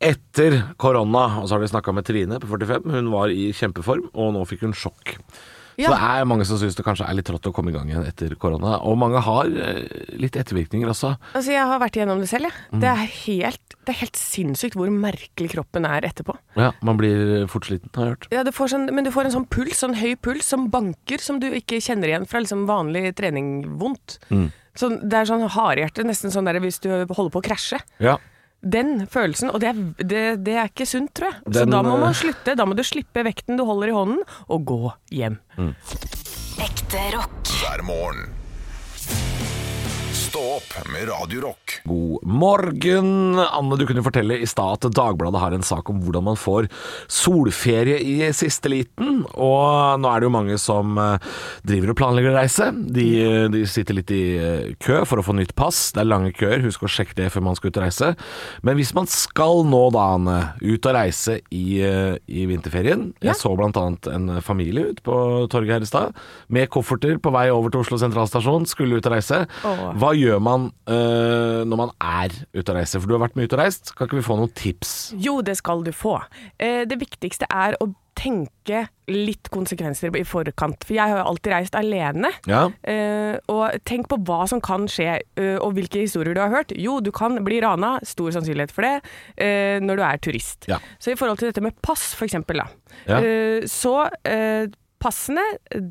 Speaker 2: etter korona, og så har vi snakka med Trine på 45. Hun var i kjempeform, og nå fikk hun sjokk. Så
Speaker 3: Ja.
Speaker 2: det er mange som syns det kanskje er litt trått å komme i gang igjen etter korona. Og mange har eh, litt ettervirkninger også.
Speaker 3: Altså, jeg har vært igjennom det selv, jeg.
Speaker 2: Mm.
Speaker 3: Det, er helt, det er helt sinnssykt hvor merkelig kroppen er etterpå.
Speaker 2: Ja, Man blir fort sliten, har jeg hørt.
Speaker 3: Ja, du får sånn, men du får en sånn puls, sånn høy puls, som banker, som du ikke kjenner igjen fra liksom vanlig trening vondt.
Speaker 2: Mm.
Speaker 3: Sånn, det er sånn hardhjerte, nesten sånn der hvis du holder på å krasje.
Speaker 2: Ja.
Speaker 3: Den følelsen, og det er, det, det er ikke sunt, tror jeg. Så
Speaker 2: Den,
Speaker 3: da må
Speaker 2: eh,
Speaker 3: man slutte, da må du slippe vekten du holder i hånden, og gå hjem.
Speaker 2: Mm.
Speaker 4: Ekte rock.
Speaker 1: hver morgen. Stå opp med Radio Rock.
Speaker 2: God morgen. Anne, du kunne fortelle i stad at Dagbladet har en sak om hvordan man får solferie i siste liten. Og nå er det jo mange som eh, driver og planlegger å reise. De, eh, de sitter litt i eh, kø for å få nytt pass. Det er lange køer, husk å sjekke det før man skal ut og reise. Men hvis man skal nå da, Anne, ut og reise i, eh, i vinterferien
Speaker 3: Ja.
Speaker 2: Jeg så blant annet en familie ute på torget her i stad med kofferter på vei over til Oslo sentralstasjon, skulle ut og reise.
Speaker 3: Åh.
Speaker 2: Hva gjør man øh, når man er ute og reiser? For du har vært mye ute og reist. Kan ikke vi få noen tips?
Speaker 3: Jo, det skal du få. Eh, det viktigste er å tenke litt konsekvenser i forkant. For jeg har jo alltid reist alene.
Speaker 2: Ja.
Speaker 3: Eh, og tenk på hva som kan skje, eh, og hvilke historier du har hørt. Jo, du kan bli rana, stor sannsynlighet for det, eh, når du er turist.
Speaker 2: Ja.
Speaker 3: Så i forhold til dette med pass, for eksempel, da,
Speaker 2: Ja.
Speaker 3: eh, så eh, Passene,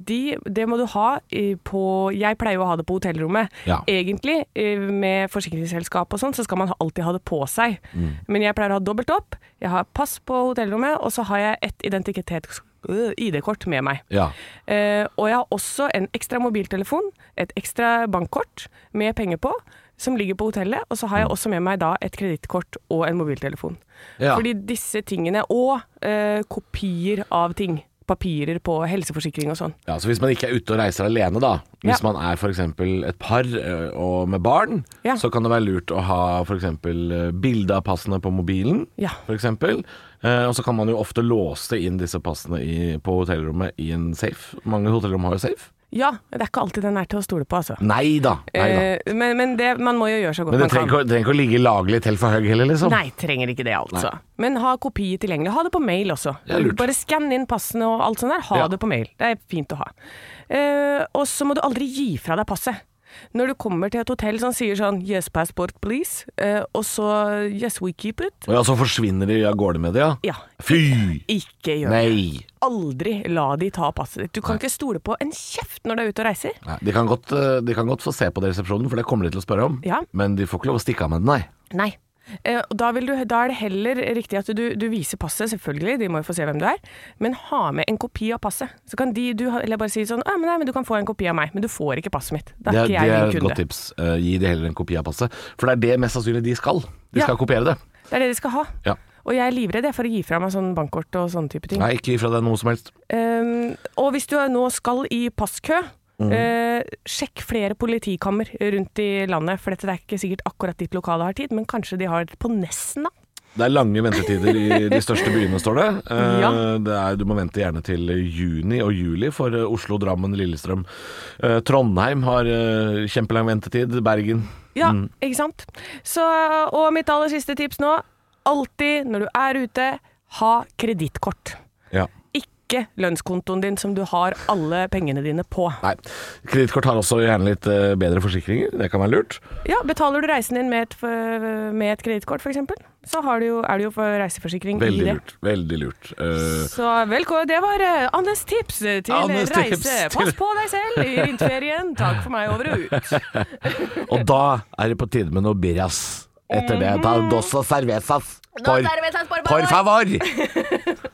Speaker 3: de, det må du ha i- på Jeg pleier jo å ha det på hotellrommet.
Speaker 2: Ja.
Speaker 3: Egentlig, eh, med forsikringsselskap og sånn, så skal man ha- alltid ha det på seg.
Speaker 2: Mm.
Speaker 3: Men jeg pleier å ha dobbelt opp. Jeg har pass på hotellrommet, og så har jeg et identitets- øh, ID-kort med meg.
Speaker 2: Ja.
Speaker 3: Eh, og jeg har også en ekstra mobiltelefon, et ekstra bankkort med penger på, som ligger på hotellet. Og så har jeg
Speaker 2: Mm.
Speaker 3: også med meg da et kredittkort og en mobiltelefon.
Speaker 2: Ja.
Speaker 3: Fordi disse tingene, og eh, kopier av ting. Papirer på helseforsikring og sånn.
Speaker 2: Ja, så Hvis man ikke er ute og reiser alene, da Hvis
Speaker 3: Ja.
Speaker 2: man er f.eks. et par ø, og med barn,
Speaker 3: Ja.
Speaker 2: så kan det være lurt å ha f.eks. bilde av passene på mobilen.
Speaker 3: Ja.
Speaker 2: For eksempel. Eh, og så kan man jo ofte låse inn disse passene i, på hotellrommet i en safe. Mange hotellrom har jo safe.
Speaker 3: Ja, det er ikke alltid den er til å stole på, altså.
Speaker 2: Nei da. Nei da.
Speaker 3: Eh, men men det, man må jo gjøre så godt
Speaker 2: Men det
Speaker 3: man kan.
Speaker 2: trenger ikke, å- trenger ikke å ligge laglig til for høy heller, liksom.
Speaker 3: Nei, trenger ikke det, altså. Men ha kopi tilgjengelig. Ha det på mail også.
Speaker 2: Ja, lurt.
Speaker 3: Bare skann inn passene og alt sånt der. Ha
Speaker 2: Ja.
Speaker 3: det på mail. Det er fint å ha. Eh, og så må du aldri gi fra deg passet. Når du kommer til et hotell som sier sånn 'yes, passport, please', eh, og så 'yes, we keep it',
Speaker 2: Og ja, så forsvinner de av gårde med det, ja.
Speaker 3: ja,
Speaker 2: Fy!
Speaker 3: ikke gjør det.
Speaker 2: Nei.
Speaker 3: Aldri la de ta passet ditt. Du kan ikke stole på en kjeft når du er ute og reiser.
Speaker 2: Nei, de, kan godt, eh, de kan godt få se på det i resepsjonen, for det kommer de til å spørre om.
Speaker 3: Ja.
Speaker 2: Men de får ikke lov å stikke av med det, nei.
Speaker 3: Nei. Eh, og Da, vil du, da er det heller riktig at du, du viser passet, selvfølgelig, de må jo få se hvem du er, men ha med en kopi av passet. Så kan de, du, ha- eller bare si sånn «Ah, men 'Nei, men du kan få en kopi av meg, men du får ikke passet mitt'. Da
Speaker 2: Det
Speaker 3: er
Speaker 2: er,
Speaker 3: ikke
Speaker 2: det er
Speaker 3: jeg
Speaker 2: et
Speaker 3: din
Speaker 2: godt
Speaker 3: kunde.
Speaker 2: tips. Eh, gi de heller en kopi av passet. For det er det mest sannsynlig de skal. De
Speaker 3: Ja.
Speaker 2: skal kopiere det.
Speaker 3: Det er det de skal ha.
Speaker 2: Ja.
Speaker 3: Og jeg er livredd jeg, for å gi fra meg sånn bankkort og sånne type ting.
Speaker 2: Nei, ikke gi fra deg noe som helst.
Speaker 3: Eh, og hvis du nå skal i passkø,
Speaker 2: Mm.
Speaker 3: eh, sjekk flere politikammer rundt i landet, for dette det er ikke sikkert akkurat ditt lokale har tid, men kanskje de har det på Nesna.
Speaker 2: Det er lange ventetider i de største byene, står det. Eh,
Speaker 3: Ja.
Speaker 2: det er, du må vente gjerne til juni og juli for eh, Oslo, Drammen, Lillestrøm. Eh, Trondheim har eh, kjempelang ventetid. Bergen.
Speaker 3: Ja,
Speaker 2: Mm.
Speaker 3: ikke sant? Så, og mitt aller siste tips nå, alltid når du er ute, ha kredittkort.
Speaker 2: Ja.
Speaker 3: Ikke lønnskontoen din som du har alle pengene dine på.
Speaker 2: Nei. Kredittkort har også gjerne litt eh, bedre forsikringer. Det kan være lurt.
Speaker 3: Ja, betaler du reisen din med et, f- med et kredittkort f.eks., så har du jo, er det jo for reiseforsikring i
Speaker 2: Veldig
Speaker 3: det.
Speaker 2: lurt. Veldig lurt. Eh,
Speaker 3: Så velkommen. Det var eh, Annes tips eh, til
Speaker 2: Annes
Speaker 3: reise.
Speaker 2: tips til-
Speaker 3: Pass på deg selv i vinterferien. Takk for meg over og ut.
Speaker 2: og da er det på tide med noe birras. Etter det. Da dos og Mm. cervezas. Por, por favor! [LAUGHS]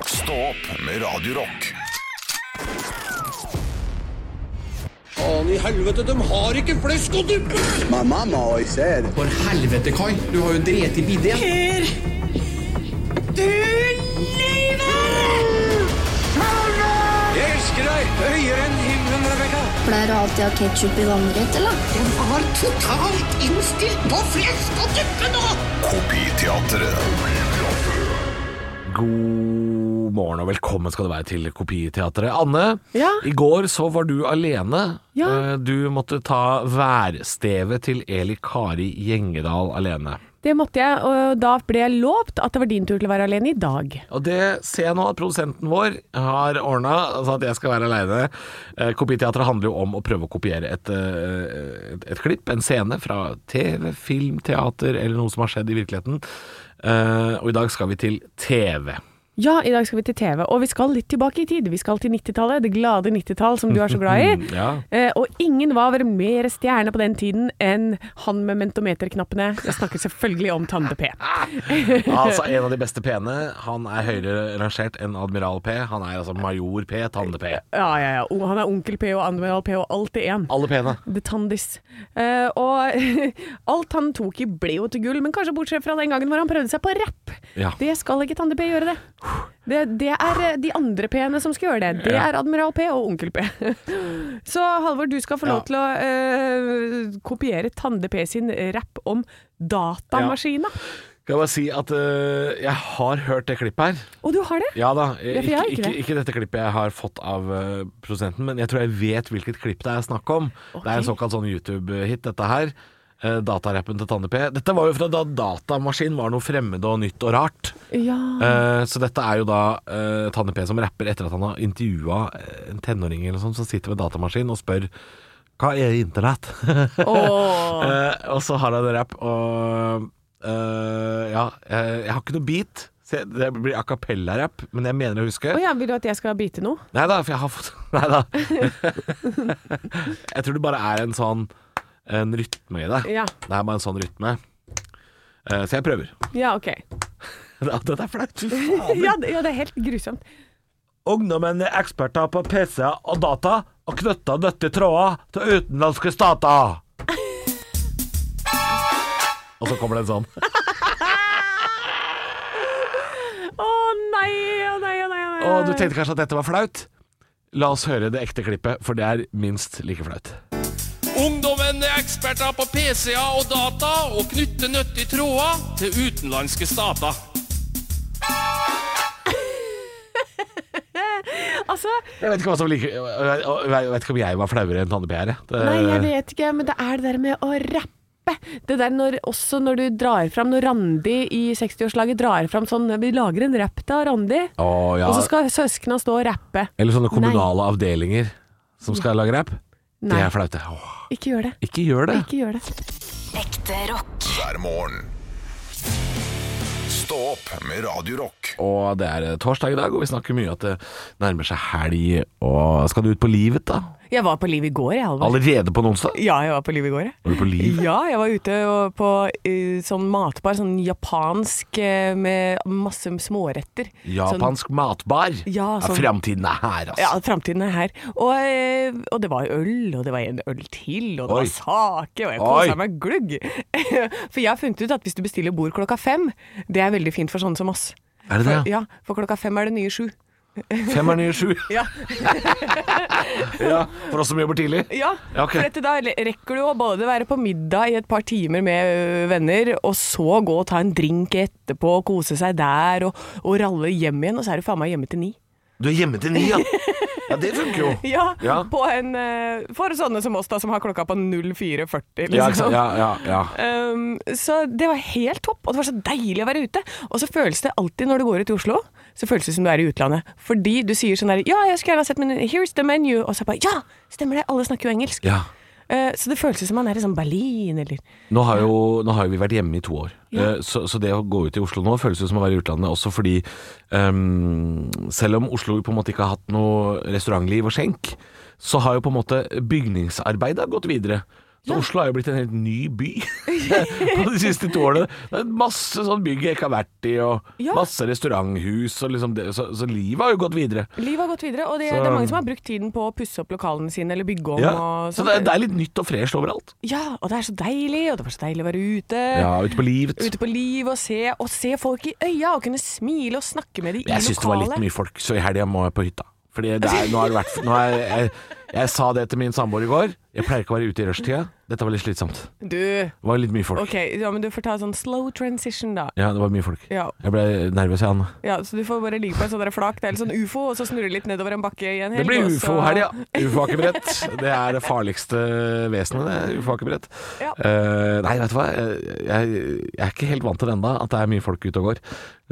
Speaker 1: Stå opp med Radio Rock.
Speaker 7: Faen i helvete, de har ikke flesk og duppe!
Speaker 8: My mama always said,
Speaker 7: For helvete, Kai. Du har jo drept i bidé. Jeg elsker deg høyere enn himmelen, Rebekka.
Speaker 9: Pleier du alltid ha ketsjup i vannrett, eller?
Speaker 7: Den var totalt innstilt på flesk og duppe nå!
Speaker 1: Kopiteatret.
Speaker 2: God morgen og velkommen skal du være til Kopiteatret. Anne,
Speaker 3: Ja.
Speaker 2: i går så var du alene.
Speaker 3: Ja.
Speaker 2: Eh, Du måtte ta værstevet til Eli Kari Gjengedal alene.
Speaker 3: Det måtte jeg, og da ble jeg lovt at det var din tur til å være alene i dag.
Speaker 2: Og det ser jeg nå at produsenten vår har ordna, så at jeg skal være aleine. Eh, Kopiteatret handler jo om å prøve å kopiere et, eh, et, et klipp, en scene fra TV, film, teater eller noe som har skjedd i virkeligheten. Eh, Og i dag skal vi til TV.
Speaker 3: Ja, i dag skal vi til TV, og vi skal litt tilbake i tid. Vi skal til 90-tallet, det glade 90-tall som du er så glad i.
Speaker 2: Ja.
Speaker 3: Eh, og ingen var vel mer stjerne på den tiden enn han med mentometerknappene. Jeg snakker selvfølgelig om Tande P.
Speaker 2: Altså En av de beste P-ene. Han er høyere rangert enn Admiral P. Han er altså Major P, Tande P.
Speaker 3: Ja, ja, ja. O- Han er onkel P og Admiral P og alt i én.
Speaker 2: Alle P-ene.
Speaker 3: The Tandis. Eh, og [LAUGHS] alt han tok i ble jo til gull, men kanskje bortsett fra den gangen hvor han prøvde seg på rapp.
Speaker 2: Ja.
Speaker 3: Det skal ikke Tande P gjøre, det. Det, det er eh, de andre P-ene som skal gjøre det. Det er Admiral P og Onkel P. [LAUGHS] Så Halvor, du skal få lov
Speaker 2: Ja.
Speaker 3: til å eh, kopiere Tande P sin rapp om datamaskina.
Speaker 2: Skal jeg bare si at eh, jeg har hørt det klippet her.
Speaker 3: Og du har det?
Speaker 2: Ja da. eh,
Speaker 3: Ja, for jeg
Speaker 2: Ikke,
Speaker 3: har ikke
Speaker 2: ikke,
Speaker 3: det.
Speaker 2: ikke dette klippet jeg har fått av eh, produsenten, men jeg tror jeg vet hvilket klipp det er snakk om. Det er en såkalt sånn YouTube-hit, dette her. Eh, Datarappen til Tande P. Dette var jo fra da datamaskin var noe fremmed og nytt og rart.
Speaker 3: Ja.
Speaker 2: [LAUGHS] Eh, så dette er jo da eh, Tanne P som rapper etter at han har intervjua en tenåring eller sånn, som sitter ved datamaskin og spør Hva er internett? [LAUGHS]
Speaker 3: Åh.
Speaker 2: Eh, og så har han en rapp og eh, Ja, eh, jeg har ikke noe beat, Så jeg, det blir a cappella-rapp, men jeg mener å huske.
Speaker 3: Å ja, vil du at jeg skal bite noe?
Speaker 2: Nei da, for jeg har fått [LAUGHS] Nei da. jeg tror det bare er en sånn en rytme i det.
Speaker 3: Ja.
Speaker 2: Det er bare en sånn rytme. Eh, Så jeg prøver. [LAUGHS]
Speaker 3: Ja, OK.
Speaker 2: Dette er flaut. fy faen.
Speaker 3: Ja, det, ja, det er helt grusomt.
Speaker 2: Ungdommen er eksperter på PC og data og knytter dette tråder til utenlandske
Speaker 3: [LAUGHS]
Speaker 2: stater. og så kommer det en sånn.
Speaker 3: Å nei, å nei, å nei. å nei.
Speaker 2: Og du tenkte kanskje at dette var flaut? La oss høre det ekte klippet, for det er minst like flaut.
Speaker 7: Ungdommen er eksperter på PC-er og data og knytter nyttige tråder til utenlandske stater.
Speaker 3: Altså,
Speaker 2: Jeg vet ikke, hva som like, jeg vet ikke om jeg var flauere enn Tanne P her. jeg. Det-
Speaker 3: nei, jeg vet ikke, men det er det der med å rappe. Det der når, også når du drar fram, når Randi i 60-årslaget drar fram sånn Vi lager en rapp til Randi,
Speaker 2: Å, ja.
Speaker 3: og så skal søsknene stå og rappe.
Speaker 2: Eller sånne kommunale avdelinger som skal lage rap. Det
Speaker 3: Nei.
Speaker 2: er flaut. det. Åh,
Speaker 3: Ikke gjør det.
Speaker 2: Ikke gjør det.
Speaker 3: Ikke gjør det.
Speaker 4: Ekte rock.
Speaker 1: hver morgen. Stå opp med Radio Rock.
Speaker 2: Og det er eh, torsdag i dag, og vi snakker mye at det nærmer seg helg. Og skal du ut på livet, da?
Speaker 3: Jeg var på Liv i går, jeg, Halvor.
Speaker 2: Allerede på en onsdag?
Speaker 3: Ja, jeg var på Liv i går, jeg.
Speaker 2: Var du på liv?
Speaker 3: Ja, jeg var ute og på eh, sånn matbar, sånn japansk eh, med masse småretter.
Speaker 2: Japansk matbar?
Speaker 3: Ja, sånn-
Speaker 2: Framtiden er her, altså.
Speaker 3: Ja, framtiden er her. Og, eh, og det var øl, og det var en øl til, og det
Speaker 2: Oi.
Speaker 3: var sake, og jeg
Speaker 2: Oi.
Speaker 3: kosa meg glugg. [LAUGHS] For jeg har funnet ut at hvis du bestiller bord klokka fem, det er veldig fint for sånne som oss.
Speaker 2: Er det det?
Speaker 3: For, ja, for klokka fem er det nye sju.
Speaker 2: Fem er nye sju.
Speaker 3: [LAUGHS] Ja.
Speaker 2: [LAUGHS] ja, for oss som jobber tidlig.
Speaker 3: Ja,
Speaker 2: Ja, ok.
Speaker 3: for dette da rekker du å både være på middag i et par timer med ø, venner, og så gå og ta en drink etterpå, og kose seg der, og, og ralle hjem igjen, og så er du faen meg hjemme til ni. [LAUGHS]
Speaker 2: Du er hjemme til ni, ja. Ja, det funker jo.
Speaker 3: Ja,
Speaker 2: Ja.
Speaker 3: På en, ø, for sånne som oss da, som har klokka på 04.40, liksom.
Speaker 2: Ja, ikke sant? ja, ja, ja.
Speaker 3: Um, så det var helt topp, og det var så deilig å være ute. Og så føles det alltid når du går ut i Oslo, så føles det som du er i utlandet. Fordi du sier sånn der Ja, jeg skulle gjerne ha sett men Here's the menu. Og så bare Ja, stemmer det. Alle snakker jo engelsk.
Speaker 2: ja.
Speaker 3: Eh, så det føles som man er i sånn Berlin, eller
Speaker 2: Nå har, jo, nå har jo vi vært hjemme i to år, Eh, så, så det å gå ut i Oslo nå føles jo som å være i utlandet. Også fordi ehm, selv om Oslo på en måte ikke har hatt noe restaurantliv og skjenk, så har jo på en måte bygningsarbeidet gått videre. Så Oslo har jo blitt en helt ny
Speaker 3: [LAUGHS]
Speaker 2: by [LAUGHS] på de siste to årene. Det er masse sånn bygg jeg ikke har vært i, og
Speaker 3: Ja.
Speaker 2: masse restauranthus, og liksom det, så, så livet har jo gått videre.
Speaker 3: Livet har gått videre, og det,
Speaker 2: Så-
Speaker 3: det er mange som har brukt tiden på å pusse opp lokalene sine eller bygge om.
Speaker 2: Ja.
Speaker 3: Og
Speaker 2: Så
Speaker 3: sånt.
Speaker 2: det, er- det er litt nytt og fresht overalt.
Speaker 3: ja, og det er så deilig, og det var så deilig å være ute.
Speaker 2: Ja, ute på livet.
Speaker 3: Eh, Ute på liv og se, og se folk i øya og kunne smile og snakke med dem i
Speaker 2: Jeg syns det var litt
Speaker 3: lokalet.
Speaker 2: mye folk, så i helga må jeg på hytta. Fordi det er, nå har det vært nå er, jeg, jeg sa det til min samboer i går. Jeg pleier ikke å være ute i rushtida. Dette var litt slitsomt.
Speaker 3: Du,
Speaker 2: Det var litt mye folk.
Speaker 3: Ok, ja, men du får ta sånn slow transition da.
Speaker 2: Ja, det var mye folk.
Speaker 3: Ja.
Speaker 2: Jeg ble nervøs, jeg, Anne.
Speaker 3: Ja, så du får bare ligge på en sånn der flak, det er litt sånn ufo, og så snurre litt nedover en bakke i en helg.
Speaker 2: Det blir
Speaker 3: og så-
Speaker 2: ufo-helg, ja.
Speaker 3: [LAUGHS]
Speaker 2: Ufoakebrett. Det er det farligste vesenet, det. Ufoakebrett.
Speaker 3: Ja.
Speaker 2: Eh, nei, vet du hva. Jeg, jeg er ikke helt vant til det ennå, at det er mye folk ute og går.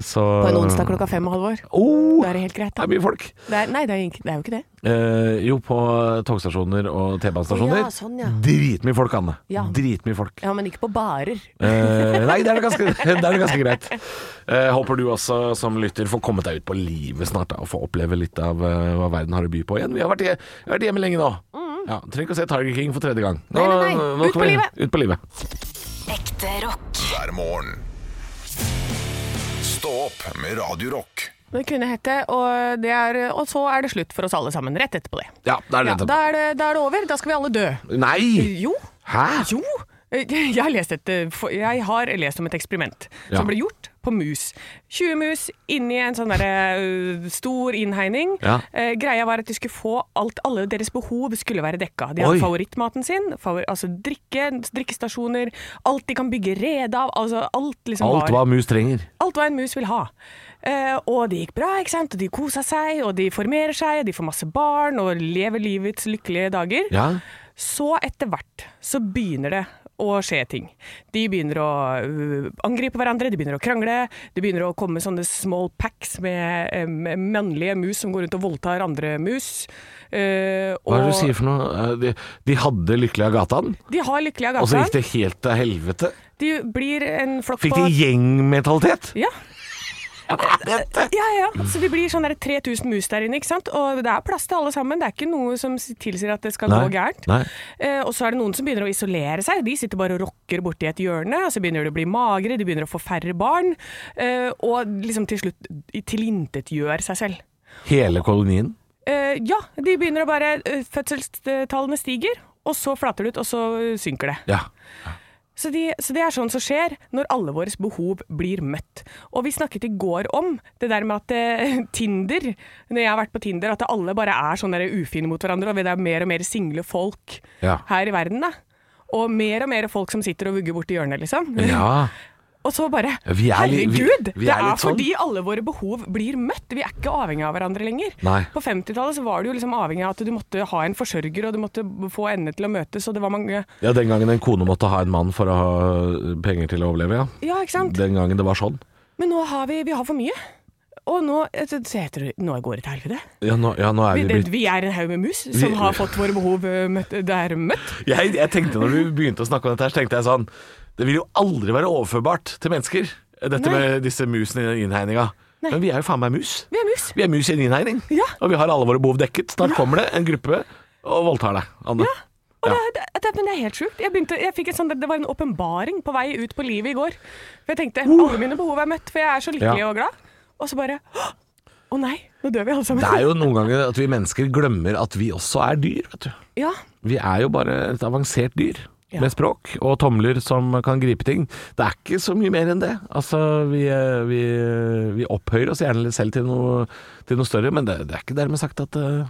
Speaker 2: Så
Speaker 3: På en onsdag klokka fem og halvår.
Speaker 2: Oh,
Speaker 3: Da er det helt greit
Speaker 2: det
Speaker 3: da.
Speaker 2: er mye folk.
Speaker 3: Det er, nei, det er, ikke- det er jo ikke det.
Speaker 2: Eh, jo, på togstasjoner og T-banestasjoner.
Speaker 3: Å ja, sånn, ja.
Speaker 2: Dritmye folk, Anne.
Speaker 3: Ja.
Speaker 2: Dritmye folk.
Speaker 3: Ja, men ikke på barer.
Speaker 2: Eh, nei, det er det ganske, [LAUGHS] det er det ganske greit. Eh, håper du også som lytter får kommet deg ut på livet snart da, og få oppleve litt av eh, hva verden har å by på igjen. Vi har vært, hje- vi har vært hjemme lenge nå. Ja, trenger ikke å se Tiger King for tredje gang. Nå,
Speaker 3: Mm. nei, nei.
Speaker 2: nå
Speaker 3: Ut
Speaker 2: kan
Speaker 3: på
Speaker 2: vi-
Speaker 3: livet.
Speaker 2: Ut på livet.
Speaker 4: Ekte rock.
Speaker 1: hver morgen. Stå opp med Radio Rock.
Speaker 3: Det kunne hette, og, det er, og så er det slutt for oss alle sammen, rett etterpå det.
Speaker 2: Ja, det er det.
Speaker 3: Ja, da, er det, da er det over, da skal vi alle dø.
Speaker 2: Nei!
Speaker 3: Jo,
Speaker 2: Hæ?
Speaker 3: Jo, eh, [LAUGHS] jeg har lest, et, eh, for- jeg har lest om et eksperiment
Speaker 2: Ja.
Speaker 3: som ble gjort på mus. 20 mus inni en sånn derre ø, stor innhegning.
Speaker 2: Ja.
Speaker 3: Eh, greia var at de skulle få alt, alle deres behov skulle være dekka. De
Speaker 2: Oi.
Speaker 3: hadde favorittmaten sin, favor, altså drikke, drikkestasjoner, alt de kan bygge rede av. Altså alt liksom
Speaker 2: Alt
Speaker 3: var
Speaker 2: hva mus trenger.
Speaker 3: Alt hva en mus vil ha. Eh, og det gikk bra, ikke sant? og de kosa seg, og de formerer seg, og de får masse barn, og lever livets lykkelige dager.
Speaker 2: Ja.
Speaker 3: Så etter hvert så begynner det å skje ting. De begynner å øh, angripe hverandre, de begynner å krangle. Det begynner å komme sånne small packs med, eh, med mannlige mus som går rundt og voldtar andre mus. Eh,
Speaker 2: Hva er det du
Speaker 3: og
Speaker 2: sier for noe? Eh, De, de hadde Lykkelig av gatan,
Speaker 3: De har lykkelig av
Speaker 2: og så Altså, gikk
Speaker 3: gata.
Speaker 2: det helt til helvete.
Speaker 3: De blir en flokk
Speaker 2: Fikk
Speaker 3: på
Speaker 2: de gjengmentalitet?
Speaker 3: Ja. Ja, ja, ja. Så vi blir sånn der 3000 mus der inne, ikke sant? Og det er plass til alle sammen. Det er ikke noe som s- tilsier at det skal
Speaker 2: Nei,
Speaker 3: gå gærent.
Speaker 2: nei.
Speaker 3: Eh, og så er det noen som begynner å isolere seg. De sitter bare og rokker borti et hjørne, og så begynner de å bli magre, de begynner å få færre barn, eh, og liksom til slutt tilintetgjør seg selv.
Speaker 2: Hele kolonien.
Speaker 3: Eh, ja, de begynner å bare eh, Fødselstallene stiger, og så flater det ut, og så eh, synker det.
Speaker 2: Ja.
Speaker 3: Så, de, så det er sånn som skjer når alle våre behov blir møtt. Og vi snakket i går om det der med at eh, [LAUGHS] Tinder, når jeg har vært på Tinder, at alle bare er sånn der ufine mot hverandre, og det er mer og mer single folk
Speaker 2: Ja.
Speaker 3: her i verden, da. Og mer og mer folk som sitter og vugger borti hjørnet, liksom.
Speaker 2: ja.
Speaker 3: Og så bare
Speaker 2: Ja, vi er litt- vi-
Speaker 3: Herregud!
Speaker 2: vi
Speaker 3: det
Speaker 2: er
Speaker 3: er,
Speaker 2: litt sånn.
Speaker 3: fordi alle våre behov blir møtt. Vi er ikke avhengig av hverandre lenger.
Speaker 2: Nei.
Speaker 3: På 50-tallet så var du jo liksom avhengig av at du måtte ha en forsørger, og du måtte få endene til å møtes, og det var mange
Speaker 2: Ja, den gangen en kone måtte ha en mann for å ha eh, penger til å overleve, ja.
Speaker 3: Ja, ikke sant?
Speaker 2: Den gangen det var sånn.
Speaker 3: Men nå har vi, vi har for mye. Og nå, eh, så heter det, nå går det til helvete.
Speaker 2: Ja, nå, ja, nå er
Speaker 3: Vi,
Speaker 2: vi
Speaker 3: det,
Speaker 2: blitt
Speaker 3: vi er en haug med mus som
Speaker 2: Vi-
Speaker 3: har fått våre behov eh, møtt, der møtt.
Speaker 2: jeg, jeg tenkte når du begynte å snakke om dette her, så tenkte jeg sånn Det vil jo aldri være overførbart til mennesker, dette
Speaker 3: Nei.
Speaker 2: med disse musene i innhegninga.
Speaker 3: Nei.
Speaker 2: Men vi er jo faen meg mus.
Speaker 3: Vi er mus.
Speaker 2: Vi er mus i en innhegning.
Speaker 3: Ja.
Speaker 2: Og vi har alle våre behov dekket. Snart kommer det en gruppe og voldtar deg, Anne.
Speaker 3: Og det, det, det, men det er helt sjukt. Jeg begynte, jeg fikk et sånt, det var en åpenbaring på vei ut på livet i går. For jeg tenkte alle mine behov er møtt, for jeg er så lykkelig
Speaker 2: Uh! Ja.
Speaker 3: og glad. Og så bare Å nei, nå dør vi alle sammen.
Speaker 2: Det er jo noen ganger at vi mennesker glemmer at vi også er dyr, vet du.
Speaker 3: Ja.
Speaker 2: Vi er jo bare et avansert dyr.
Speaker 3: Ja.
Speaker 2: Med språk og tomler som kan gripe ting. Det er ikke så mye mer enn det. Altså, vi, eh, vi, eh, vi opphøyer oss gjerne selv til noe, til noe større, men det, det er ikke dermed sagt at eh,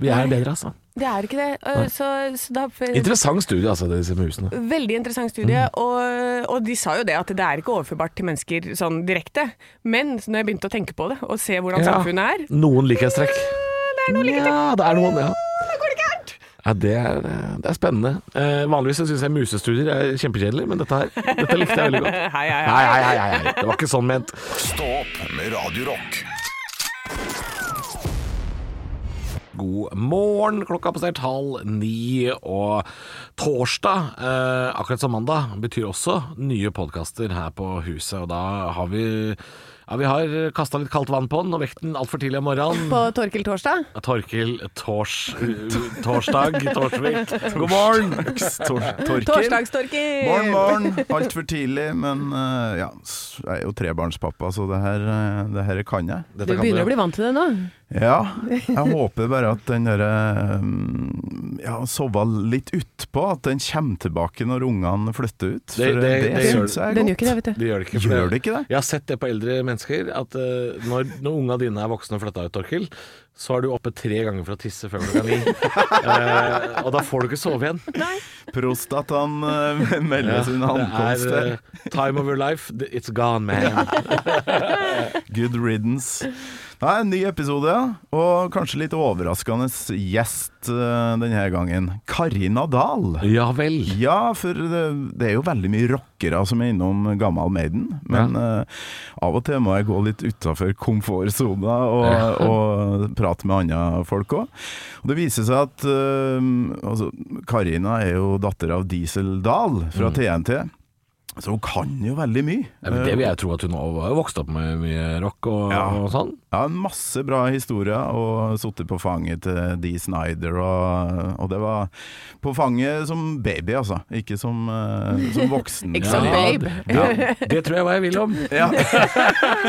Speaker 2: vi er bedre, altså.
Speaker 3: Det er ikke det. Eh, Så, så da
Speaker 2: Interessant studie, altså, disse musene.
Speaker 3: Veldig interessant studie, og, og de sa jo det at det er ikke overførbart til mennesker sånn direkte. Men når jeg begynte å tenke på det, og se hvordan
Speaker 2: Ja.
Speaker 3: samfunnet er
Speaker 2: Noen likhetstrekk.
Speaker 3: Det er noe like
Speaker 2: Ja, det er noen, ja.
Speaker 3: Det går ikke gærent!
Speaker 2: Ja, det er, det er spennende. Eh, vanligvis syns jeg musestudier er kjempekjedelig, men dette her dette likte jeg veldig
Speaker 3: [LAUGHS]
Speaker 2: godt.
Speaker 3: Hei, hei,
Speaker 2: Nei,
Speaker 3: hei.
Speaker 2: hei, hei, hei, hei. Det var ikke sånn ment.
Speaker 1: Stå opp med Radio Rock.
Speaker 2: God morgen. Klokka er passert halv ni, og torsdag, eh, akkurat som mandag, betyr også nye podkaster her på huset. Og da har vi ja, vi har kasta litt kaldt vann på den og vekt den altfor tidlig om morgenen.
Speaker 3: [LAUGHS] På Torkil torsdag?
Speaker 2: Torkil tors, Torsdag Torsvik. God morgen!
Speaker 3: Torsdagstorkil!
Speaker 8: Morgen, morgen. Altfor tidlig, men eh, ja, s- jeg er jo trebarnspappa, så det her, eh, det her kan jeg.
Speaker 2: Dette kan dere-
Speaker 3: bli vant til det nå.
Speaker 8: Ja, jeg håper bare at den derre mm, Ja, sova litt utpå, at den kommer tilbake når ungene flytter ut. For
Speaker 2: Det-
Speaker 8: det,
Speaker 2: det-
Speaker 8: det,
Speaker 2: det gjør-
Speaker 8: syns jeg er godt.
Speaker 3: vet
Speaker 2: Det gjør det ikke. for
Speaker 8: Gjør det ikke det?
Speaker 2: Jeg har sett det på eldre mennesker, at eh, når, når unga dine er voksne og flytta ut, Torkil, så er du oppe tre ganger for å tisse før klokka
Speaker 8: [LAUGHS]
Speaker 2: ni. Eh, og da får du ikke sove igjen.
Speaker 8: Prostataen eh, [LAUGHS] melder sin ankomst
Speaker 2: det er
Speaker 8: der.
Speaker 2: eh, time of your life, th- it's gone, man.
Speaker 8: Good riddance. Nei, en ny episode, ja. Og kanskje litt overraskende gjest eh, denne gangen. Karina Dahl.
Speaker 2: Ja vel.
Speaker 8: Ja, for det, det er jo veldig mye rockere som er innom Gammal Maiden. Men eh, av og til må jeg gå litt utafor komfortsona og, [LAUGHS] og prate med andre folk òg. Og det viser seg at eh, altså, Karina er jo datter av Diesel Dahl fra TNT. Så hun kan jo veldig mye.
Speaker 2: Mm. Ja, men Det vil jeg tro at hun også har vokst opp med mye rock og,
Speaker 8: Ja.
Speaker 2: og sånn.
Speaker 8: Eh, Ja, masse bra historier, og sittet på fanget til Dee Snyder, og, og det var på fanget som baby, altså. Ikke som, eh, som voksen.
Speaker 3: [LAUGHS] Ikke som babe.
Speaker 8: Ja.
Speaker 2: Det tror jeg hva jeg vil om.
Speaker 8: Ja.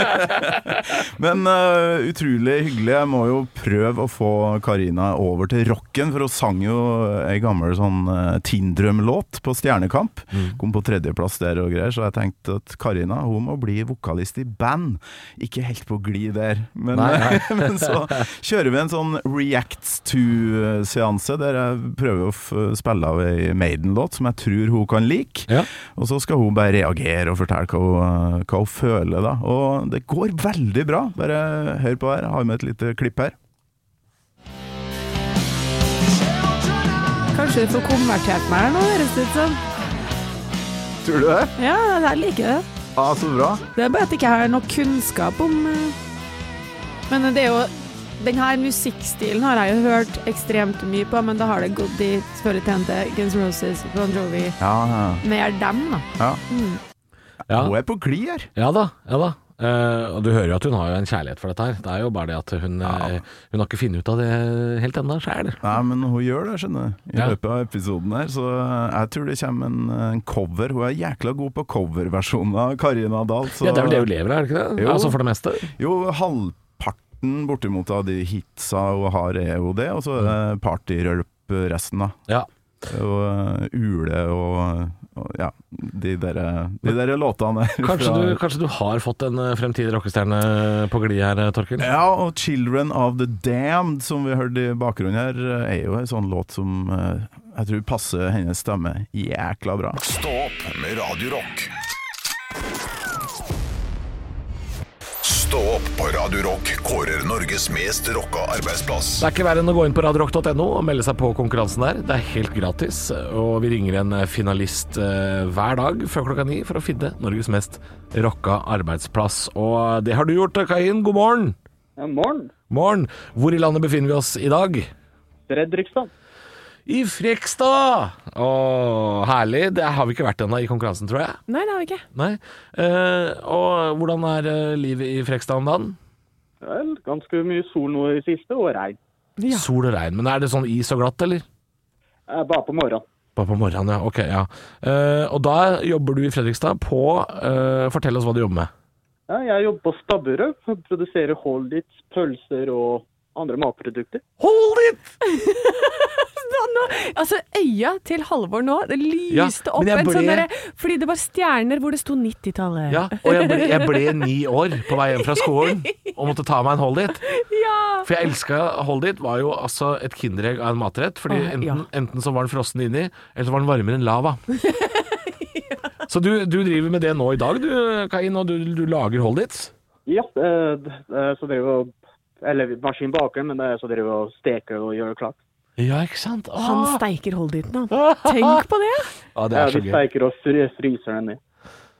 Speaker 8: [LAUGHS] Men eh, utrolig hyggelig. Jeg må jo prøve å få Karina over til rocken, for hun sang jo ei gammel sånn eh, Teen Drøm-låt på Stjernekamp. Kom på tredjeplass der og greier, så jeg tenkte at Karina hun må bli vokalist i band. Ikke helt på glid der, men, [LAUGHS] men så kjører vi en sånn Reacts to-seanse, der jeg prøver å f spille av ei Maiden-låt som jeg tror hun kan like.
Speaker 2: Ja.
Speaker 8: Og så skal hun bare reagere og fortelle hva hun, eh, hva hun føler, da. Og det går veldig bra. Bare hør på her. Jeg har med et lite klipp her.
Speaker 10: Kanskje du får konvertert meg her nå, høres det ut som.
Speaker 8: Tror du det?
Speaker 10: Ja, jeg liker det.
Speaker 8: Ja, så bra.
Speaker 10: Det er bare at jeg ikke har noe kunnskap om eh. Men det er jo den her musikkstilen har jeg jo hørt ekstremt mye på, men da har det gått i selvfølgelig TNT, Guns N' Roses, Bon Jovi
Speaker 8: Ja,
Speaker 10: Mer dem, da.
Speaker 8: ja.
Speaker 2: Ja.
Speaker 8: Hun er på glid her.
Speaker 2: Ja da, ja da. Eh, og Du hører jo at hun har jo en kjærlighet for dette her. Det er jo bare det at hun, eh, hun har ikke funnet ut av det helt ennå sjæl.
Speaker 8: Nei, men hun gjør det, skjønner du. I
Speaker 2: Ja.
Speaker 8: løpet av episoden her. Så eh, jeg tror det kommer en, en cover. Hun er jækla god på coverversjonen av Karina Dahl. Så
Speaker 2: Ja, det er vel det hun lever av, er det ikke det?
Speaker 8: Jo.
Speaker 2: Altså for det meste.
Speaker 8: Jo, halvparten bortimot av de hitsa hun har, er jo det. Og så er det partyrølp resten, da.
Speaker 2: Ja.
Speaker 8: Og eh, ule og, og ja, de der, de der låtene.
Speaker 2: Kanskje,
Speaker 8: fra-
Speaker 2: du, kanskje du har fått en eh, fremtidig rockestjerne på glid her, eh, Torkil?
Speaker 8: Ja, og 'Children of the Damned', som vi hørte i bakgrunnen her, er jo en sånn låt som eh, jeg tror passer hennes stemme jækla bra.
Speaker 1: Stå opp med Radio Rock. Stå opp på Radio Rock kårer Norges mest rocka arbeidsplass.
Speaker 2: Det er ikke verre enn å gå inn på radiorock.no og melde seg på konkurransen der. Det er helt gratis, og vi ringer en finalist eh, hver dag før klokka ni for å finne Norges mest rocka arbeidsplass. Og eh, det har du gjort, Kain. God morgen!
Speaker 11: Morgen.
Speaker 2: Morgen. Hvor i landet befinner vi oss i dag?
Speaker 11: Fredrikstad.
Speaker 2: I Frekstad! Å, herlig. Det har vi ikke vært ennå i konkurransen, tror jeg.
Speaker 3: Nei, det har vi ikke.
Speaker 2: Nei. Eh, og hvordan er eh, livet i Frekstad om dagen?
Speaker 11: Vel, ganske mye sol nå i siste, og regn.
Speaker 2: Sol og regn. Men er det sånn is og glatt, eller?
Speaker 11: Eh, Bare på morgenen.
Speaker 2: Bare på morgenen, ja. Ok, ja. Eh, og da jobber du i Fredrikstad på eh, Fortell oss hva du jobber med.
Speaker 11: Ja, jeg jobber på Stabburet. og Produserer holdits, pølser og andre matprodukter.
Speaker 2: Hold it!
Speaker 3: Da, [LAUGHS] nå, altså, øya til Halvor nå, det lyste
Speaker 2: Ja,
Speaker 3: opp
Speaker 2: men jeg
Speaker 3: en sånn
Speaker 2: ble-
Speaker 3: derre Fordi det var stjerner hvor det sto 90-tallet.
Speaker 2: Ja, og jeg ble, jeg
Speaker 3: [LAUGHS]
Speaker 2: ble ni år på vei hjem fra skolen og måtte ta meg en hold it.
Speaker 3: Ja.
Speaker 2: For jeg elska hold it, var jo altså et kinderegg av en matrett. Fordi
Speaker 3: Åh, ja.
Speaker 2: enten, enten så var den frossen inni, eller så var den varmere enn lava.
Speaker 3: [LAUGHS]
Speaker 2: Så du, du driver med det nå i dag, du, Kain, og du, du lager hold its?
Speaker 11: Ja, eh, d- eh, så driver jeg og Eller maskin baker, men eh, så driver jeg og steker og gjør det klart.
Speaker 2: Ja, ikke sant? Åh.
Speaker 3: Han steiker holditen, han. Tenk på det!
Speaker 2: Ja, det
Speaker 11: Ja,
Speaker 2: er så
Speaker 11: vi
Speaker 2: gøy.
Speaker 11: steiker og fry- fryser den ned.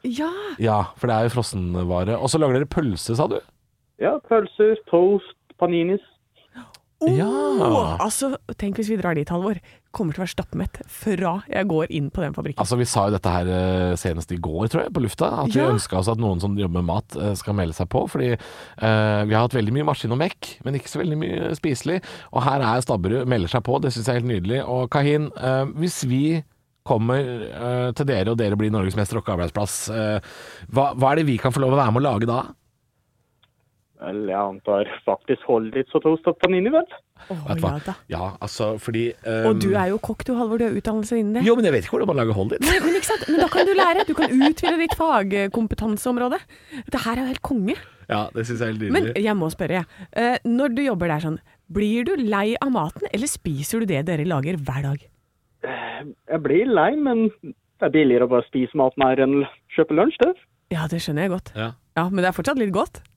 Speaker 3: Ja.
Speaker 2: Ja, for det er jo frossenvare. Og så lager dere pølse, sa du?
Speaker 11: Ja, pølser, toast, paninis.
Speaker 3: Åh, altså, tenk hvis vi drar dit, Halvor. Kommer til å være stappmett fra jeg går inn på den fabrikken.
Speaker 2: Altså, Vi sa jo dette her eh, senest i går, tror jeg, på lufta. At
Speaker 3: Ja.
Speaker 2: vi ønska oss at noen som jobber med mat, eh, skal melde seg på. Fordi eh, vi har hatt veldig mye maskin og mekk, men ikke så veldig mye spiselig. Og her er Stabberud, melder seg på. Det syns jeg er helt nydelig. Og Kahin, eh, hvis vi kommer eh, til dere, og dere blir Norges mest rocka arbeidsplass, eh, hva, hva er det vi kan få lov å være med å lage da?
Speaker 11: Vel, jeg antar faktisk holdits og toast og panini, vel?
Speaker 2: Vet du hva? Ja, altså, fordi eh,
Speaker 3: Og du er jo kokk, du, Halvor. Du har utdannelse innen det.
Speaker 2: Jo, men jeg vet ikke hvordan man lager hold dit.
Speaker 3: Nei, men ikke sant? Men da kan du lære. Du kan utvide ditt fagkompetanseområde. Det her er jo helt konge.
Speaker 2: Ja, det syns jeg er helt
Speaker 3: Men
Speaker 2: nydelig.
Speaker 3: jeg må spørre, jeg. Eh, Når du jobber der sånn, blir du lei av maten, eller spiser du det dere lager hver dag?
Speaker 11: Jeg blir lei, men det er billigere å bare spise maten her enn å kjøpe lunsj, det.
Speaker 3: Ja, det skjønner jeg godt.
Speaker 2: Ja.
Speaker 3: Ja, Men det er fortsatt litt godt. [LAUGHS]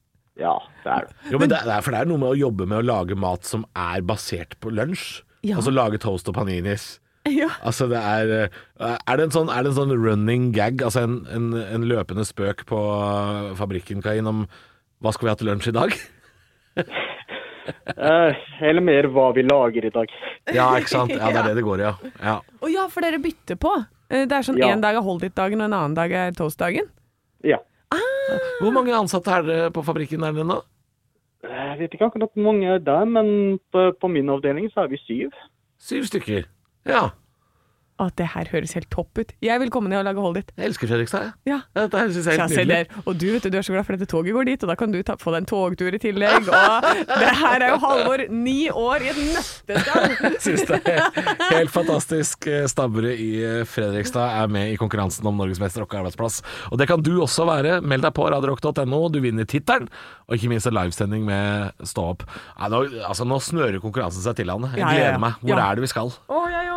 Speaker 11: Ja, det er det.
Speaker 2: Jo, men det er, det er- for det er noe med å jobbe med å lage mat som er basert på lunsj.
Speaker 3: Ja.
Speaker 2: Altså lage toast og paninis.
Speaker 3: Ja.
Speaker 2: Altså det er eh, Er det en sånn, er det en sånn running gag, altså en, en, en løpende spøk på eh, fabrikken, Kain, om hva skal vi ha til lunsj i dag? [LAUGHS]
Speaker 11: Eh, eller mer hva vi lager i dag.
Speaker 2: Ja, ikke sant? Ja, det er det det går i, ja. ja.
Speaker 3: Å ja, for dere bytter på. Eh, Det er sånn
Speaker 11: Ja.
Speaker 3: én dag er hold dit-dagen, og en annen dag er toast-dagen.
Speaker 11: Ja.
Speaker 2: Hvor mange ansatte er dere på fabrikken er dere nå?
Speaker 11: Jeg vet ikke Eh, akkurat hvor mange er der, men på, på min avdeling så er vi syv.
Speaker 2: Syv stykker. Ja.
Speaker 3: At det her høres helt topp ut. Jeg vil komme ned og lage hold dit.
Speaker 2: Jeg elsker Fredrikstad, jeg.
Speaker 3: Ja.
Speaker 2: Ja, Dette her syns jeg er
Speaker 3: Ja,
Speaker 2: helt
Speaker 3: se
Speaker 2: nydelig.
Speaker 3: der. Og du vet du, du er så glad for dette toget går dit, og da kan du ta, få deg en togtur i tillegg. Og det her er jo Halvor, ni år i et nøtteskall.
Speaker 2: [LAUGHS] Syns det er helt fantastisk. Stabburet i eh, Fredrikstad er med i konkurransen om Norges mest rocka arbeidsplass. Og det kan du også være. Meld deg på radiorock.no. Du vinner tittelen, og ikke minst en livesending med Stå opp. Nei, nå, altså, nå snører konkurransen seg til, Anne. Jeg
Speaker 3: Ja, ja, ja.
Speaker 2: gleder meg. Hvor
Speaker 3: Ja.
Speaker 2: er det vi skal?
Speaker 3: Å, ja, ja.